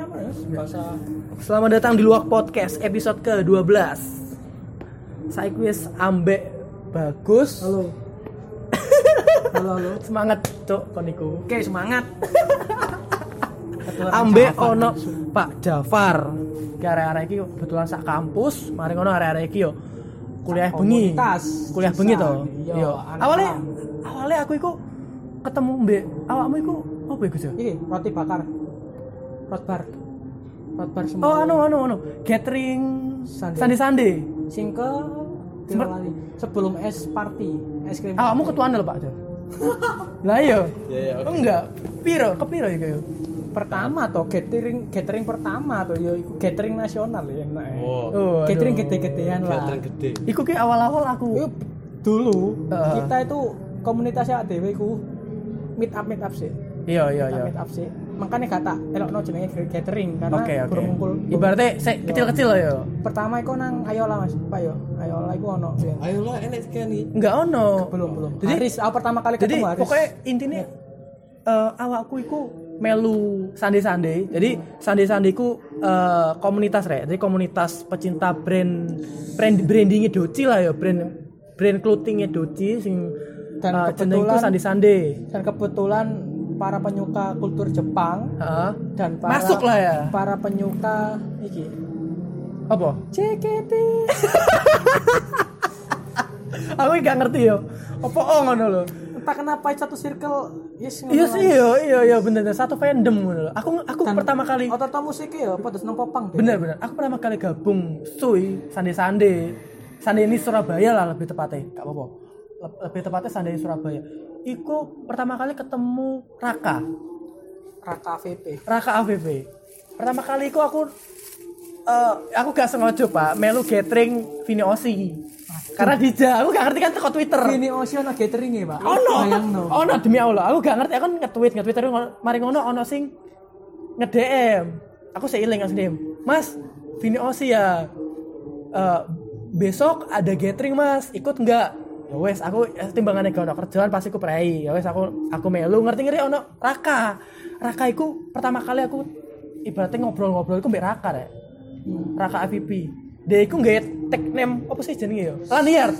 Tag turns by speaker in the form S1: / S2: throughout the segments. S1: ya? Bahasa
S2: Selamat datang di Luak Podcast episode ke-12 Saya kuis ambek bagus
S1: halo. halo halo.
S2: Semangat cok koniku
S3: Oke semangat.
S1: Ketularan
S2: Ambek
S1: Jafar.
S2: ono Pak Jafar Ki area-area ini kebetulan sak kampus Mari ono area-area ini yo Kuliah
S1: Sak
S2: bengi
S1: komunitas.
S2: Kuliah bengi
S1: Sisan,
S2: toh
S1: iya,
S2: Yo
S1: anak-anak.
S2: Awalnya Awalnya aku iku ketemu mbek awakmu iku apa iku Cok?
S1: Iki roti bakar. Rotbar. Rotbar semua.
S2: Oh anu anu anu gathering
S1: Sandi.
S2: Sandi Sandi
S1: Sing ke
S2: Sempet-
S1: Tirolali. sebelum es party, es krim.
S2: Awakmu ketuaan lho Pak Jafar Lah iya
S4: Ya, ya, oke.
S2: Enggak Piro kepiro iku yo
S1: pertama toh catering catering pertama toh yo iku catering nasional ya enak. ya.
S4: Wow.
S2: Oh,
S1: Catering
S2: aduh.
S1: gede-gedean lah.
S4: Gathering gede.
S2: Iku ki awal-awal
S1: Itu
S2: aku.
S1: Iya, dulu
S2: Heeh.
S1: kita itu komunitasnya ADW ku meet up meet up sih.
S2: Iya iya iya.
S1: meet up sih. Makanya gak tak elokno jenenge catering karena
S2: Oke oke.
S1: bermumpul.
S2: Ibaratnya sik
S1: Iya.
S2: kecil-kecil loh yo.
S1: pertama iku nang ayolah Mas, Pak yo. Ayolah iku ono. biyen.
S4: Ayo lah enak sekali.
S2: Enggak ono.
S1: Belum belum.
S2: Jadi-
S1: Haris, aku pertama kali
S2: Jadi
S1: ketemu Haris.
S2: pokoknya intinya eh, awakku iku melu sande-sande. Jadi sande-sande iku eh, komunitas rek. Jadi komunitas pecinta brand brand brandingnya Doci lah yo, brand brand clothingnya Doci sing
S1: Dan
S2: eh, jeneng iku
S1: kebetulan-
S2: sande-sande.
S1: dan kebetulan para penyuka kultur Jepang
S2: Heeh.
S1: dan para
S2: Masuk lah ya.
S1: para penyuka iki
S2: Apa?
S1: JKT
S2: Aku gak ngerti yo. Apa oh ngono lho.
S1: entah kenapa satu circle yes
S2: Iya sih, iya, iya, iya, bener, bener. satu fandom gitu loh. Aku, aku pertama kali,
S1: otot musiknya ya pada seneng popang deh.
S2: bener, bener. Aku pertama kali gabung Sui, Sande Sande, Sande ini Surabaya lah lebih tepatnya, gak apa-apa. Le- Lebih tepatnya Sande ini Surabaya. Iku pertama kali ketemu Raka,
S1: Raka VP
S2: Raka AVP. Pertama kali iku aku, eh, aku gak sengaja pak, melu gathering Vini Osi. Karena dija, aku gak ngerti kan teko Twitter.
S1: ini Ocean gathering ya pak
S2: ono
S1: Bayangno.
S2: ono demi Allah aku gak ngerti aku kan nge-tweet nge-tweet terus ngono- mari ngono ono sing nge-DM aku seiling langsung DM mas Vini Osi ya Eh, besok ada gathering mas ikut enggak ya wes aku eh, timbangannya gak ono kerjaan pasti aku prei ya wes aku aku melu ngerti ngerti ono Raka Raka iku pertama kali aku ibaratnya ngobrol-ngobrol aku mbak Raka rek Raka APP dia iku nggak tag name apa sih jenenge ya lanier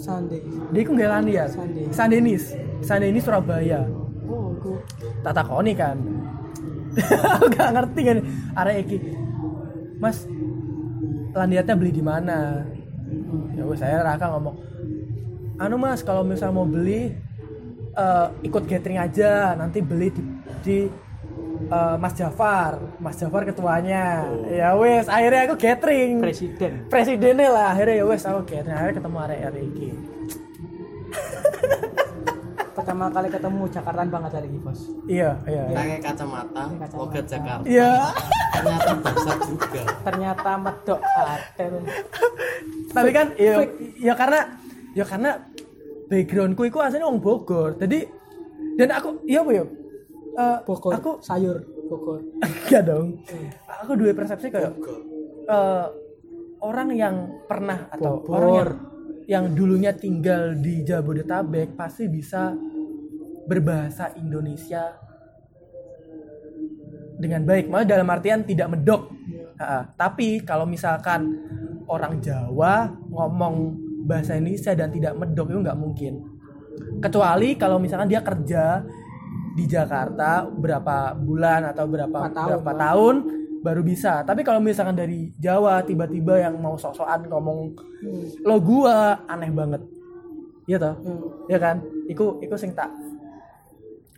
S1: Sande
S2: dia iku nggak ya? laniar
S1: Sandi.
S2: Sandenis Sandenis Surabaya
S1: oh aku
S2: tak takoni kan aku gak ngerti kan arek iki mas laniarnya beli di mana ya wes, saya raka ngomong anu mas kalau misal mau beli eh, ikut gathering aja nanti beli di, di, eh, Mas Jafar, Mas Jafar ketuanya. Ya wes, akhirnya aku gathering
S1: presiden
S2: presidennya lah akhirnya ya wes aku gathering akhirnya ketemu arek arek iki.
S1: pertama kali ketemu Jakarta banget hari ini bos
S2: Iya, iya. iya.
S4: Pakai kacamata,
S1: kacamata.
S4: logat Jakarta.
S2: Iya.
S4: Ternyata bangsat juga.
S1: ternyata medok ada
S2: Tapi kan ya, ya karena ya karena backgroundku itu aslinya orang Bogor. Jadi dan aku iya apa ya? Eh,
S1: Bogor
S2: Aku
S1: sayur Bogor
S2: enggak dong. Aku dua persepsi kayak eh, orang yang pernah atau
S1: Bogor.
S2: orang yang yang dulunya tinggal di Jabodetabek pasti bisa berbahasa Indonesia dengan baik. Malah dalam artian tidak medok. Ha-ha. tapi kalau misalkan orang Jawa ngomong bahasa Indonesia dan tidak medok itu nggak mungkin. Kecuali kalau misalkan dia kerja di Jakarta berapa bulan atau berapa
S1: Empat tahun,
S2: berapa
S1: Bang.
S2: tahun baru bisa. Tapi kalau misalkan dari Jawa tiba-tiba yang mau sok-sokan ngomong lo gua aneh banget. Iya toh?
S1: Hmm.
S2: Iya kan? Iku iku sing tak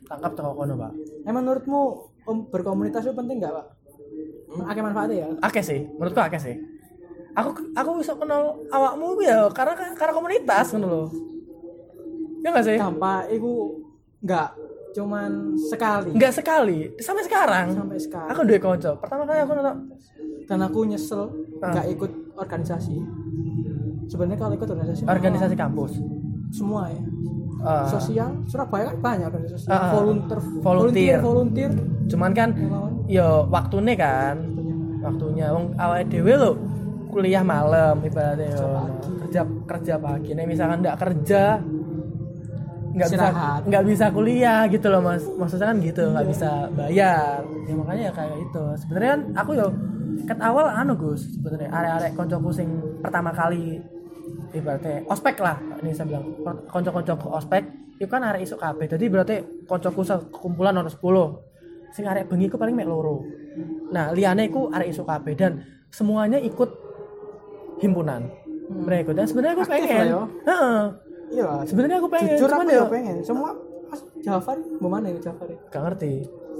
S2: tangkap toko kono, Pak.
S1: emang menurutmu um, berkomunitas itu penting nggak pak?
S2: Hmm?
S1: Ada manfaatnya ya?
S2: akeh sih menurutku akeh sih aku aku bisa kenal awakmu ya karena karena komunitas ngono loh ya nggak sih
S1: Dampak itu nggak cuman sekali
S2: nggak sekali sampai sekarang
S1: sampai sekarang.
S2: aku dua konco pertama kali aku nonton
S1: dan aku nyesel
S2: Ah.
S1: nggak ikut organisasi sebenarnya kalau ikut organisasi
S2: organisasi kampus
S1: semua ya
S2: Eh,
S1: sosial Surabaya kan banyak organisasi sosial
S2: Ah.
S1: volunteer
S2: Volunteer.
S1: volunteer
S2: cuman kan
S1: relawan
S2: yo waktunya kan
S1: tentunya.
S2: waktunya wong awake dhewe lo kuliah malam ibaratnya yo. kerja kerja pagi nih misalkan ndak kerja nggak bisa
S1: Istirahat. Iya.
S2: nggak bisa kuliah gitu loh mas maksudnya kan gitu nggak bisa bayar ya makanya ya kayak itu sebenarnya kan aku yo ket awal anu gus sebenarnya arek-arek koncoku sing pertama kali ibaratnya ospek lah ini saya bilang konco-koncoku ospek itu kan arek isuk kabeh jadi berarti koncoku sekumpulan ono 10 sing arek bengi ku paling mek loro nah liane ku arek isuk kabeh dan semuanya ikut himpunan mereka ikut. dan sebenarnya aku
S1: Hmm. Aktif
S2: pengen
S1: lah yo.
S2: Heeh.
S1: Iya lah.
S2: sebenarnya aku pengen
S1: Jujur
S2: cuman
S1: aku
S2: yo-
S1: ya pengen. Semua Mas Jafar gimana ya Jafar? ya?
S2: Gak ngerti.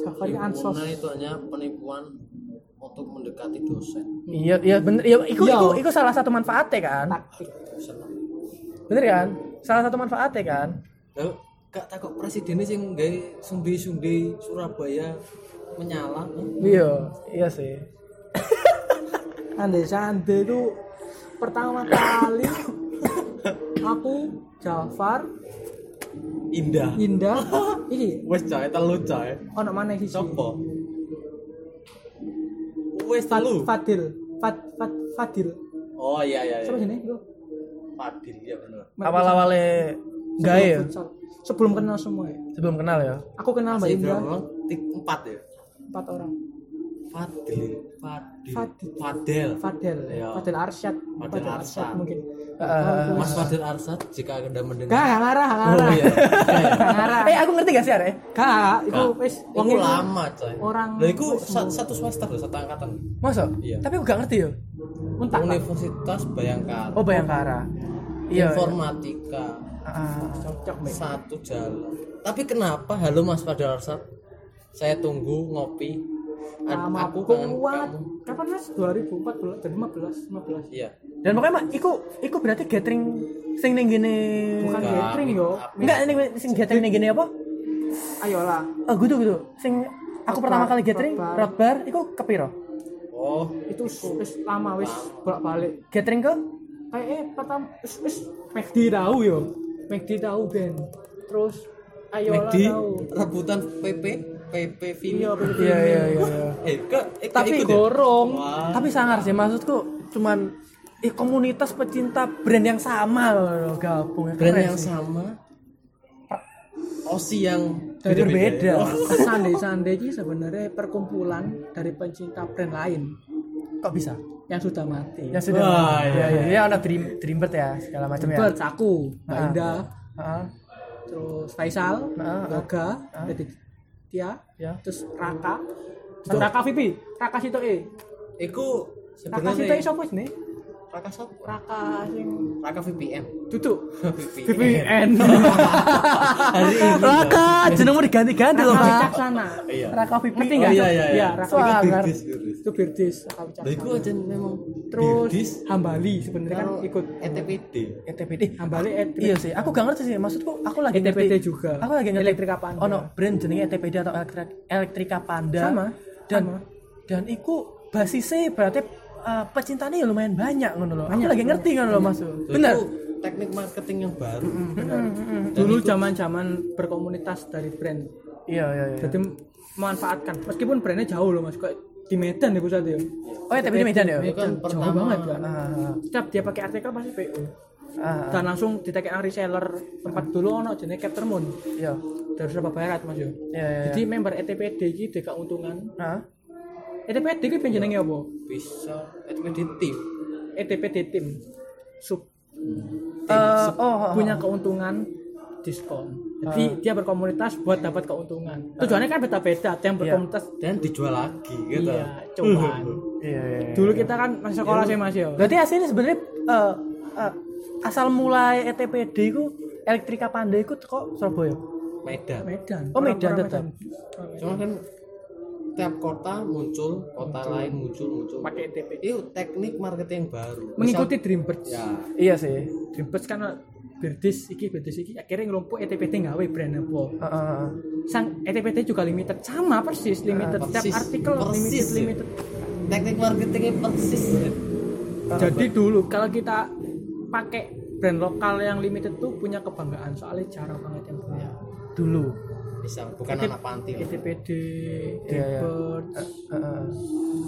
S1: Jafar ya ansos.
S4: Himpunan Nah, itu hanya penipuan untuk mendekati dosen.
S2: Iya, iya bener. Iya, iku,
S1: Iya.
S2: iku, iku salah satu manfaatnya kan.
S1: Taktik.
S4: Seneng.
S2: Bener kan? Salah satu manfaatnya kan.
S4: Lalu kak takut presidennya sing nggawe sumbi-sumbi Surabaya menyala.
S2: Iya, iya sih.
S1: Andai Sande itu pertama kali aku Jafar
S4: Indah.
S1: Indah iki
S4: Wes cah, telu cah.
S1: ono mana iki?
S4: Sopo? Wes
S1: Fad-
S4: telu.
S1: Fadil. Fad, Fad, Fadil.
S4: Oh iya iya iya.
S1: Siapa jenenge? Iku?
S4: Fadil ya bener.
S2: Awal-awalnya
S1: Sebelum
S2: gae ya,
S1: futsal. Sebelum kenal semua ya.
S2: sebelum kenal ya.
S1: Aku kenal Mbak
S4: Masih
S1: Indah
S4: berapa? Tik- Empat ya.
S1: empat orang.
S4: Fadil, Fadil,
S1: Fadil.
S4: Fadel.
S1: Fadel,
S4: Iya.
S1: Fadel Arsyad,
S4: Fadel Arsyad. Eh,
S1: mungkin.
S2: Heeh.
S4: Mas Fadil Arsad jika anda
S1: Gak,
S4: mendengar.
S1: gak ngarah, gak
S4: Oh
S1: ngarah.
S4: iya.
S1: Gak ngarah.
S2: Eh, aku ngerti gak sih, Are?
S1: Gak, itu
S4: Gak.
S1: wis wong
S4: Itu lama coy.
S1: orang-
S4: Lah iku sa- satu semester loh, satu angkatan.
S2: Masa?
S4: Iya.
S2: Tapi aku gak ngerti yo.
S1: Mentak.
S4: Universitas Bayangkara.
S2: Oh, Bayangkara. Iya. Ah,
S4: Informatika.
S2: Heeh.
S1: Cocok, Mbak.
S4: Satu jalan. Tapi kenapa? Halo Mas Fadil Arsad. Saya tunggu ngopi. Ad-
S1: Lama
S4: aku
S2: kan
S4: kangen
S1: kuat.
S4: kamu.
S1: Kapan Mas? 2014 dari 15, 15.
S4: Iya.
S2: Dan pokoknya mah iku iku berarti gathering sing ning gini
S1: Bukan
S4: Gak,
S1: gathering
S4: meet
S1: Kan yo.
S4: up.
S2: enggak ning sing gathering ning gini apa?
S1: Ayolah.
S2: Eh, gitu gitu. Sing aku
S1: Rock
S2: pertama
S1: bar,
S2: kali gathering
S1: rock bar.
S2: rock bar iku kepiro?
S4: Oh,
S1: Itu wis wis lama wis bolak-balik.
S2: Gathering ke
S1: Kayak eh pertama wis wis McD tahu yo. McD tahu Ben. Terus Ayolah
S4: Medi
S1: tahu.
S4: rebutan PP PP
S1: Iya,
S4: Vimeo.
S1: Ben.
S2: Iya iya iya. iya.
S4: Eh, ke- eh, ke
S2: Tapi
S4: ikut ya?
S1: Gorong.
S4: Wah.
S2: tapi sangar sih maksudku cuman eh, komunitas pecinta brand yang sama loh gabung ya,
S4: brand
S2: keren
S4: yang
S2: sih.
S4: sama osi yang
S2: Beda-beda.
S1: Sande-sande ini sebenarnya perkumpulan dari pencinta brand lain
S2: kok bisa
S1: yang sudah mati.
S2: ya sudah
S4: Wah,
S2: ya ya ya ada dream dreambird ya segala macam ya
S1: Birds aku, Mbak
S2: Ah.
S1: Indah,
S2: Heeh,
S1: terus Faisal,
S2: Ah, ah.
S1: Yoga,
S2: Ah.
S1: jadi Tia,
S2: ya
S1: terus Raka, terus Raka Vipi, Raka Sito E,
S4: Iku
S1: Raka Sito E
S4: sebenarnya
S1: siapa sih nih?
S4: Raka sapa?
S1: Raka sing
S4: Raka VPN.
S1: duduk. VPN.
S4: VPN. Hari ini.
S2: Raka jenengmu diganti-ganti
S1: Raka
S2: loh pak
S1: Wicaksana.
S4: Iya.
S2: Raka Vipi
S1: Ngerti
S4: Oh,
S1: nggak?
S4: iya iya iya.
S1: Iya, Raka
S2: Wah,
S1: Vipi.
S2: ngerti.
S4: Birdis, birdis.
S1: Itu Birdis, Raka
S4: Lah iku
S1: Wicaksana.
S4: aja memang
S1: Terus
S4: birdis
S1: Hambali sebenarnya kan
S4: karo
S1: ikut
S4: ETPD.
S2: ETPD
S1: Hambali E ETPD.
S2: iya sih aku gak ngerti sih maksudku aku lagi
S1: ETPD
S2: ngerti
S1: E juga.
S2: aku lagi ngerti
S1: Elektrika Panda.
S2: oh no brand jenenge ETPD atau elektrik elektrika Panda
S1: Sama,
S2: dan
S1: sama.
S2: dan iku basisnya berarti eh, pecintanya ya lumayan banyak ngono loh aku lagi ngerti ngono loh masuk bener
S4: Itu teknik marketing yang baru.
S1: Dulu zaman-zaman berkomunitas dari brand.
S2: iya iya iya
S1: Jadi memanfaatkan meskipun brandnya jauh loh Mas, kayak di Medan ya pusat ya.
S2: Oh ya, tapi di Medan ya?
S4: Itu kan
S1: Jauh banget kan.
S2: Ah,
S1: setiap dia pakai artikel pasti PO
S2: ah,
S1: dan langsung ditekan reseller tempat dulu ono jenis Capture Moon
S2: iya,
S1: dari Surabaya Barat mas yo
S2: iya, iya.
S1: jadi member E ETPD ini dia keuntungan E
S2: Ah,
S1: ETPD ini penjenengnya apa? E
S4: Bisa ETPD tim.
S1: ETPD tim sub
S2: Eh, oh, oh,
S1: punya keuntungan diskon jadi dia berkomunitas buat dapat keuntungan tujuannya kan beda-beda ada yang berkomunitas
S4: Dan dijual lagi gitu.
S1: iya cobaan
S2: iya, iya. iya.
S1: dulu kita kan masih sekolah sih mas yo
S2: Berarti aslinya sebenarnya eh, eh, asal mulai E ETPD itu Elektrika Panda itu kok Surabaya.
S4: Medan.
S1: Medan
S2: Oh,
S1: Orang-orang
S2: Medan tetap.
S1: Medan.
S4: Cuma kan tiap kota muncul, kota lain muncul, muncul.
S1: pakai ETPD
S4: Itu teknik marketing yang baru.
S1: mengikuti Dreambirds
S4: Ya,
S2: Iya sih.
S1: Dreambirds kan Birdis iki Birdis iki akhirnya ngelompok E ETPT nggawe brand apa
S2: Ah, ah, ah.
S1: sang E ETPT juga limited sama persis limited setiap
S4: persis.
S1: artikel
S4: Persis,
S1: limited
S4: ya.
S1: limited
S4: teknik marketingnya persis.
S1: jadi dulu kalau kita pakai brand lokal yang limited tuh punya kebanggaan soalnya jarang banget yang punya E
S2: Dulu.
S4: Bisa, bukan anak panti. loh.
S1: ETPD
S2: Iya, iya.
S1: Dreambirds
S2: Ah, ah, ah.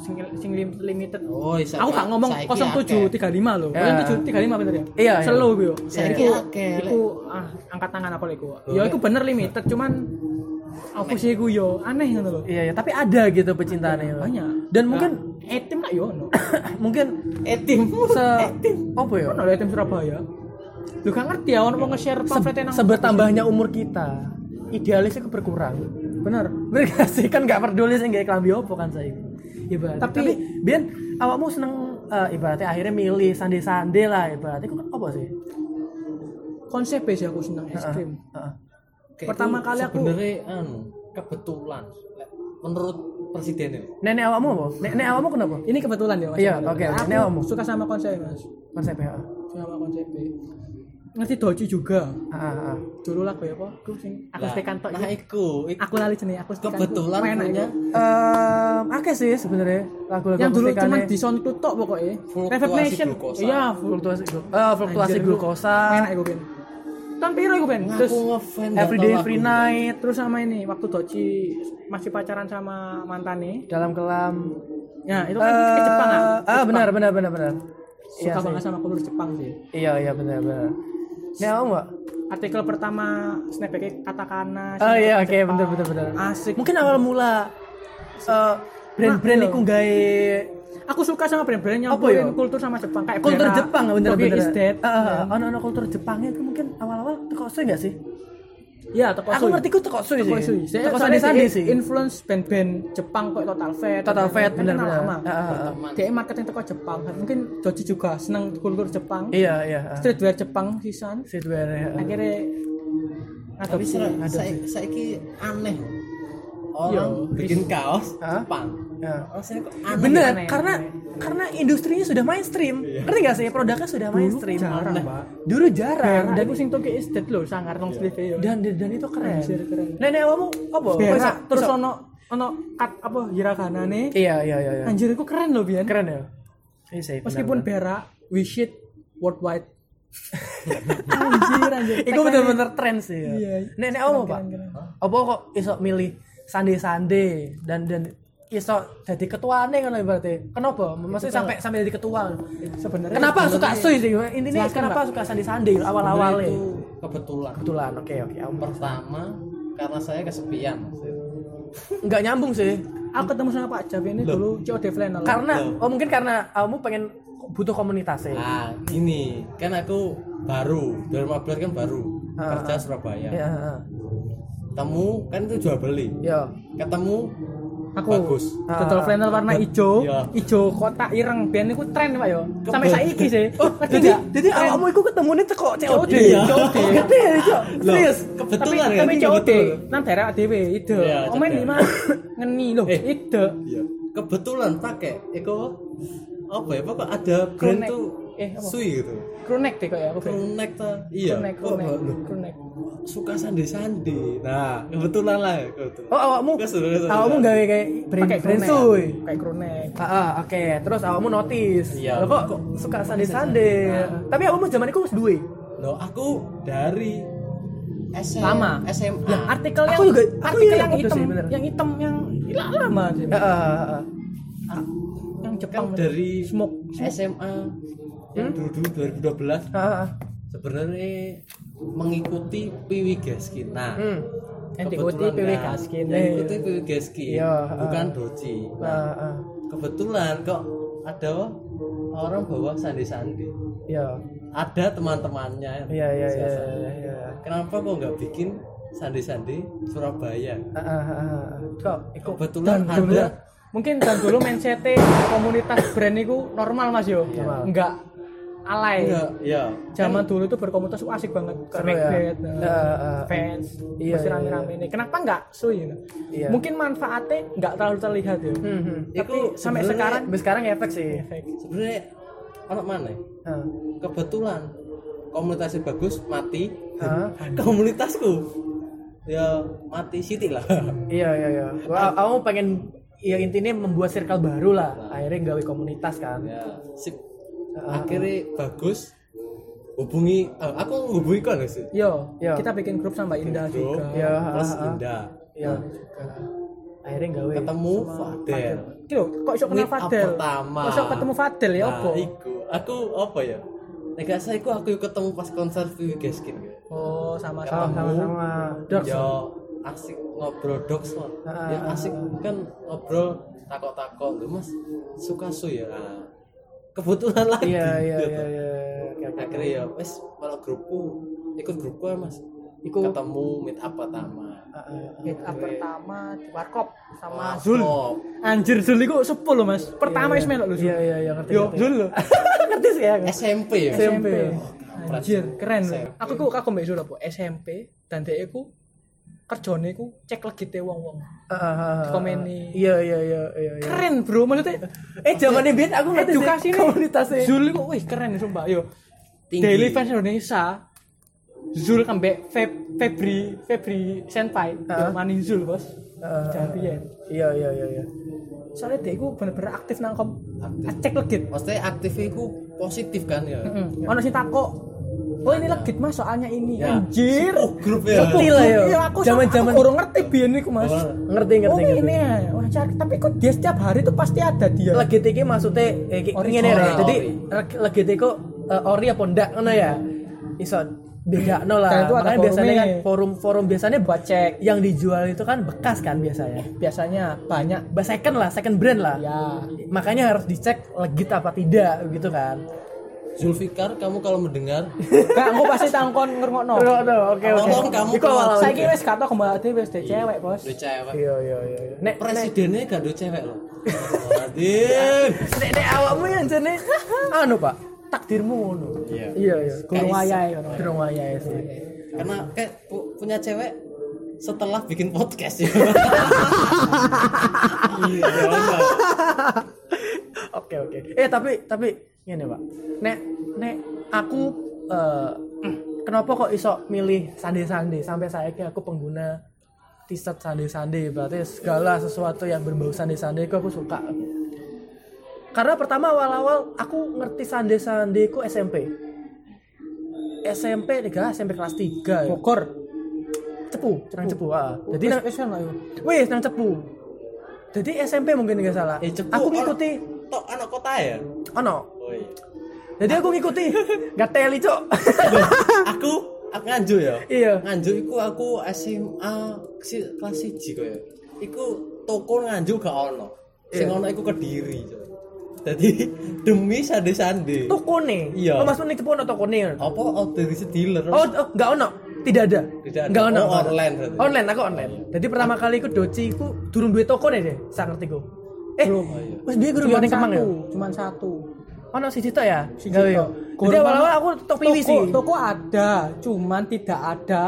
S1: sing, sing lim- limited
S4: Oh, bisa.
S1: aku gak ngomong
S4: Saiki
S1: 0735 loh
S2: Ya.
S1: 0735 bener ya
S2: Iya, iya.
S1: slow bro
S4: Saiki
S1: Iku-
S4: akeh.
S1: iku ah angkat tangan apa
S2: Oh.
S1: iku. Yo iku bener limited, cuman apa sih iku yo aneh ngono lho.
S2: Iya, iya, tapi ada gitu pecintaannya.
S1: Banyak.
S2: Dan mungkin
S1: etim lah yo ono.
S2: Nah. mungkin
S4: Etim.
S2: se apa ya?
S1: Ono lho etim Surabaya. Lu gak ngerti ya ono mau nge-share pamflet nang
S2: Sebertambahnya umur kita, idealisnya berkurang.
S1: bener.
S2: Bener gak sih? Kan gak peduli sih kayak kelambi opo kan saya
S1: Iya,
S2: Ibaratnya. Tapi,
S1: Tapi-
S2: Tapi Bian, awakmu seneng eh, ibaratnya akhirnya milih sande-sande lah ibaratnya kok apa sih?
S1: Konsep e sih aku seneng es krim.
S2: Heeh.
S4: Kayak
S1: Pertama
S4: itu
S1: kali aku-
S4: sebenarnya anu kebetulan Lek, menurut presiden ya. itu
S2: Nenek awakmu apa? Nenek awakmu kenapa?
S1: Ini kebetulan ya Mas.
S2: Iya, oke, oke. Ini
S1: Aku
S2: omong.
S1: suka sama konsep e, Mas.
S2: Konsepnya. heeh.
S1: Suka sama konsep. e. Ngerti doji juga.
S2: Heeh, heeh.
S1: Dulu lagu ya apa? Aku sing aku
S4: Lah,
S1: stekan tok.
S4: nah
S1: iki.
S4: iku, iku
S1: Aku lali jenenge aku stekan.
S4: kebetulan
S1: Main aku.
S4: punya
S2: Em, akeh sih sebenarnya lagu-lagu
S1: yang dulu
S2: akustikane.
S1: cuman di SoundCloud tok pokoknya
S4: Fluktuasi
S1: Reverb
S4: glukosa.
S1: iya flu-
S2: Ah, fluktuasi glu- eh, fluktuasi
S1: Anjir, dulu.
S2: glukosa,
S1: enak iku ben tahun piro iku ben terus
S4: Nah, aku ngefans ya,
S2: everyday free night
S1: terus sama ini waktu Doci masih pacaran sama mantane
S2: dalam kelam.
S1: ya itu kan ke
S2: Eh,
S1: Jepang kan
S2: ah, benar benar benar benar. Iya
S1: suka
S2: sih.
S1: banget sama kultur Jepang sih
S2: Iya iya benar benar. Nek awakmu Mbak?
S1: artikel pertama snapback katakana
S2: Oh
S1: sama
S2: iya oke
S1: Jepang.
S2: bener bener bener.
S1: asik
S2: Mungkin awal mula eh, brand-brand
S1: Nah,
S2: iku gawe
S1: aku suka sama brand-brand yang
S2: Apa ya?
S1: ngeluarin kultur sama Jepang kayak
S2: kultur
S1: Vera,
S2: Jepang Eh, bener
S1: Tokyo
S2: bener.
S1: Iya. is dead Iya.
S2: Heeh, ah, ono-ono kultur Jepangnya itu mungkin awal-awal tekosui enggak sih?
S1: ya Tokyo
S2: Aku ngerti ku tekosui
S1: Toko
S2: Iya sih.
S1: Isui. Saya
S2: Tekosui
S1: soalnya
S2: sandi
S1: dia
S2: sih.
S1: influence band-band Jepang kok Total Fat.
S2: Total Fat Ah, bener bener.
S1: benar.
S2: Heeh, heeh.
S1: Dia marketing toko Jepang. Mungkin Joji juga seneng kultur Jepang.
S2: Iya iya. heeh.
S1: Streetwear Jepang sisan.
S2: Streetwear.
S1: iya.
S2: heeh.
S1: Akhirnya
S4: tapi
S1: ngadopsi.
S4: saya saiki aneh
S1: Iya.
S4: orang bikin kaos
S2: Hah?
S4: Jepang
S2: Ya.
S4: rasanya kok
S2: Ya,
S4: aneh
S2: Bener,
S1: aneh, Iya.
S2: karena karena industrinya sudah mainstream. Ngerti gak sih? Produknya sudah mainstream.
S1: jarang,
S2: Nah,
S1: Mbak.
S2: Dulu jarang.
S1: Nah,
S2: Dan
S1: aku sing Tokyo is dead lho sangar nong sleeve e yo.
S2: dan dan, dan itu keren.
S1: Anjir, keren.
S2: Nenek awakmu apa?
S1: Berak.
S2: Koiso-
S1: terus
S2: koiso-
S1: ono ono cut apa hiragana nih.
S2: Iya, iya, iya, iya.
S1: Anjir, aku keren loh Bian.
S2: Keren ya. Iya sih.
S1: Meskipun berak, we shit worldwide. anjir, anjir.
S2: itu bener-bener tren sih. ya.
S1: Iya.
S2: Nenek awakmu Pak.
S1: Keren, keren.
S2: Apa kok iso milih sande-sande dan dan iso jadi ketuane ngono berarti. Kenapa? Maksudnya sampai sampai jadi ketua.
S1: Sebenarnya
S2: Kenapa suka sui sih? Intinya
S1: Silakan,
S2: kenapa suka sande-sande awal-awalnya?
S1: ya.
S4: itu kebetulan
S2: Kebetulan. Oke, oke. ya awal-
S4: pertama karena saya kesepian
S2: nggak nyambung sih
S1: aku ketemu sama Pak Javi ini dulu COD flannel
S2: karena oh mungkin karena kamu pengen butuh komunitas ya
S4: ah ini kan aku baru 2015 kan baru
S2: Ah,
S4: kerja
S2: ah.
S4: Surabaya
S1: Iya.
S2: ya
S4: ketemu kan itu jual beli
S2: ya
S4: ketemu
S1: aku
S4: bagus
S2: Ah.
S1: total flannel warna hijau
S4: Iya.
S1: hijau kotak ireng biar niku tren pak yo sampai
S4: Kebel.
S1: saiki sih
S2: oh
S1: Ngerti
S2: jadi
S1: nggak?
S2: jadi
S1: Tren.
S2: awakmu itu ketemunya teko COD
S4: Iya.
S2: COD gede ya Cok.
S4: Loh,
S2: serius
S1: tapi
S4: kebetulan kan
S1: tapi
S4: ini
S1: COD
S4: kebetulan.
S1: nang daerah dhewe ide
S4: Iya,
S1: omen
S4: cedek.
S1: lima ngeni loh
S4: Eh.
S1: ide
S4: Iya. Kebetulan pakai Eko apa ya pokok ada brand
S1: Krunek.
S4: tuh
S1: Eh, apa?
S4: sui gitu.
S1: krunek deh kok ya aku Ben.
S4: Krunek tuh. Iya.
S1: krunek
S4: Kok
S1: krunek
S4: baru?
S1: krunek
S4: suka sandi-sandi. Nah, kebetulan lah ya, kebetulan.
S2: oh awakmu
S4: Terus, terus, terus.
S2: awakmu gawe kayak brand
S1: pakai
S2: brand
S1: krunek
S2: suy
S1: pakai krunek
S2: Ah, ah, oke. Terus awakmu notice.
S4: Iya.
S2: Loh, kok, kok suka sande-sande. Tapi awakmu zaman itu wis duwe.
S4: Loh, aku dari SM,
S1: Lama.
S4: SMA.
S1: Lah, artikel yang
S2: Aku juga- aku
S1: artikel
S2: iya,
S1: yang
S2: aku
S1: hitam
S2: sih, bener.
S1: yang hitam yang gila lama sih
S2: Heeh, heeh, heeh.
S1: yang
S4: kan
S1: Jepang
S4: dari
S1: smoke Hmm?
S4: SMA yang dulu
S2: Heeh,
S4: 2012
S2: heeh.
S4: sebenarnya mengikuti Piwi Gaskin. Nah,
S2: Hmm.
S1: NTKT
S4: kebetulan
S1: PW
S4: kan,
S1: Gaskin
S4: Mengikuti Piwi Gaskin.
S2: Iya, Ah.
S4: Bukan Doci.
S2: Heeh, heeh.
S4: kebetulan kok ada orang bawa sandi-sandi
S2: Iya.
S4: ada teman-temannya
S2: Iya, iya, iya,
S4: Siapa?
S2: iya, iya.
S4: kenapa kok nggak bikin sandi-sandi Surabaya
S2: Ah, ah, ah, ah. Kok ikut
S4: kebetulan
S1: Dan dulu
S4: ada
S1: mungkin dan dulu mindset komunitas brand itu normal mas yo
S2: Normal. Iya.
S1: enggak alay
S4: enggak ya
S1: zaman dulu itu berkomunitas wah, asik banget
S2: Seru ya.
S1: Connected,
S2: Eh,
S1: eh,
S2: eh, eh.
S1: fans
S2: Iya,
S1: masih
S2: iya,
S1: rame-rame ini kenapa enggak so you know?
S2: Iya.
S1: mungkin manfaatnya enggak terlalu terlihat Iya, ya
S2: Hmm, hmm.
S1: tapi
S4: Itu
S1: sampai
S4: sebenarnya-
S1: sekarang
S2: Sampai sekarang ya, efek sih. Ah.
S1: efek.
S4: sebenarnya anak mana ya?
S2: Hah?
S4: kebetulan komunitasnya bagus mati
S2: Hah?
S4: komunitasku ya mati Siti lah
S2: Iya iya iya. Gua aku pengen ya intinya membuat circle baru lah. Akhirnya gawe komunitas kan.
S4: ya sip akhirnya bagus hubungi eh, aku hubungi kan sih
S1: yo,
S2: Yo.
S1: kita bikin grup sama Indah
S4: Bro,
S1: juga
S2: Ya,
S4: plus
S2: ah, ah.
S4: Indah
S2: Iya. Akhirnya gawe.
S4: ketemu Fadel
S1: Yo, kok iso kenal
S4: Meet up
S1: Fadel
S4: pertama.
S1: kok iso ketemu Fadel ya
S4: nah,
S1: apa
S4: iku aku apa ya nek gak salah iku aku ketemu pas konser Vivi Gaskin
S1: oh sama-sama
S2: sama-sama Iya,
S1: Dogs.
S4: Ya asik ngobrol dogs kok.
S2: Ah.
S4: Ya asik kan ngobrol takok-takok lu Mas suka su ya. Kebetulan lagi.
S2: iya iya iya iya Oke, oke.
S4: Akhirnya ya wes malah grupku ikut grupku ya Mas.
S2: Ikut.
S4: Ketemu meet up pertama. Oh,
S2: Ah, ah.
S1: Meet up pertama di warkop sama
S4: Warkop.
S1: Zul anjir Zul itu sepuh loh mas pertama Ismail loh Zul
S2: iya iya iya ngerti
S1: yo
S2: ngerti.
S1: Zul loh
S2: ngerti sih ya
S4: SMP ya. Mas?
S2: SMP.
S4: Kampret.
S1: anjir keren loh.
S4: SMP.
S1: aku kok kagum mbak Zul apa SMP dan dia aku kerjone ku cek legite wong-wong
S2: Ah, ah, ah, ah.
S1: Komeni.
S2: iya iya iya iya iya.
S1: keren bro maksudnya
S2: eh zamannya Bian aku ngerti sih
S1: edukasi nih
S2: komunitasnya
S1: Zul itu wih keren sumpah yo
S4: Tinggi.
S1: Daily Fans Indonesia Zul kembek Feb- Febri Febri Senpai
S2: Ah.
S1: yo maning Zul bos
S2: Ah, ah,
S1: jangan biar
S2: iya iya iya iya
S1: soalnya dia itu bener-bener aktif nang kom
S4: Aktif.
S1: cek legit
S4: Maksudnya aktifnya ku positif kan ya.
S1: Mm. Ono sing takok. Oh ini legit mas soalnya ini
S4: Ya.
S1: anjir.
S4: Oh, grup ya.
S2: Sepuh. Gila, yo.
S1: Iya, aku
S2: Zaman-zaman-
S1: zaman-zaman kurang ngerti biyen niku mas.
S2: ngerti
S4: Oh,
S1: Oh
S2: ngerti ngerti
S1: ini ya. Wah, jar- tapi kok dia setiap hari tuh pasti ada dia.
S2: legit iki maksudnya eh, ki-
S1: Ori.
S2: ngene lho.
S4: Ori.
S2: Jadi leg- legit iku eh, ori apa ndak ngono ya. Iso bedakno lah.
S1: Dan itu ada
S2: Makanya biasanya kan
S1: forumnya.
S2: forum-forum biasanya buat
S1: Buat cek
S2: yang dijual itu kan bekas kan biasanya.
S1: biasanya banyak.
S2: Bah, Second lah, second brand lah.
S4: Iya.
S1: Ya.
S2: Makanya harus dicek legit apa tidak gitu kan.
S4: Zulfikar kamu kalau mendengar
S1: Kak, aku pasti tangkon ngerungokno.
S2: oke
S4: Tolong kamu
S2: Iku
S4: keluar.
S2: awal-awal.
S1: Saiki wis gak tau kembali dia wis dek cewek bos.
S4: udah cewek.
S2: Iya iya iya. iya. Nek
S4: Presidennya gak ada cewek loh. Adin.
S2: nek nek awakmu yang jane anu Pak, takdirmu ngono.
S4: Iya.
S2: Iya iya.
S1: Gurung wayahe ngono.
S2: Durung wayahe sih.
S4: Karena kayak pu- punya cewek setelah bikin podcast ya. Iya, bener.
S2: Oke oke. Eh tapi tapi ini pak. Nek nek aku eh, kenapa kok iso milih sande sande sampai saya aku pengguna t-shirt sande sande berarti segala sesuatu yang berbau sande sande aku suka. Karena pertama awal awal aku ngerti sande sande ku SMP. SMP tiga SMP kelas 3
S4: Oh.
S1: Bogor.
S2: cepu, nang cepu. ah. Jadi
S1: Wis-
S2: nang,
S1: wis ono ya. yo.
S2: wis nang cepu. Jadi SMP mungkin nggak salah.
S4: Eh, Cepu,
S2: aku
S4: or-
S2: ngikuti,
S4: Tok anak kota ya.
S2: oh
S4: Woi.
S2: jadi aku ngikuti, gak teli cok.
S4: Aku aku nganju ya.
S2: Iya.
S4: Nganju iku aku SMA si, kelas 1 kok ya. Iku toko nganju gak ono. Sing
S2: Iya.
S4: ono iku Kediri. Cok. Jadi demi sande-sande.
S2: Toko nih.
S4: Iya.
S2: Oh, maksudnya toko ono toko nih.
S4: Apa otoris dealer?
S2: Oh, oh, nggak ono. Tidak ada.
S4: Tidak ada.
S2: Nggak ono.
S4: Oh, online berarti. Oh.
S2: Online aku online. Jadi pertama kali aku doci, aku turun duit toko nih deh. Saya ngerti ku. Eh,
S1: Belum.
S4: Oh, iya.
S2: wes dia guru
S1: Cuman
S2: yang kemang ya.
S1: satu, cuman satu. gitu.
S2: Ono si Cito ya.
S1: Si
S2: Gawe
S1: Cito.
S2: yo. Jadi awal-awal aku tok piwi sih.
S1: Toko- Toko ada, cuman tidak ada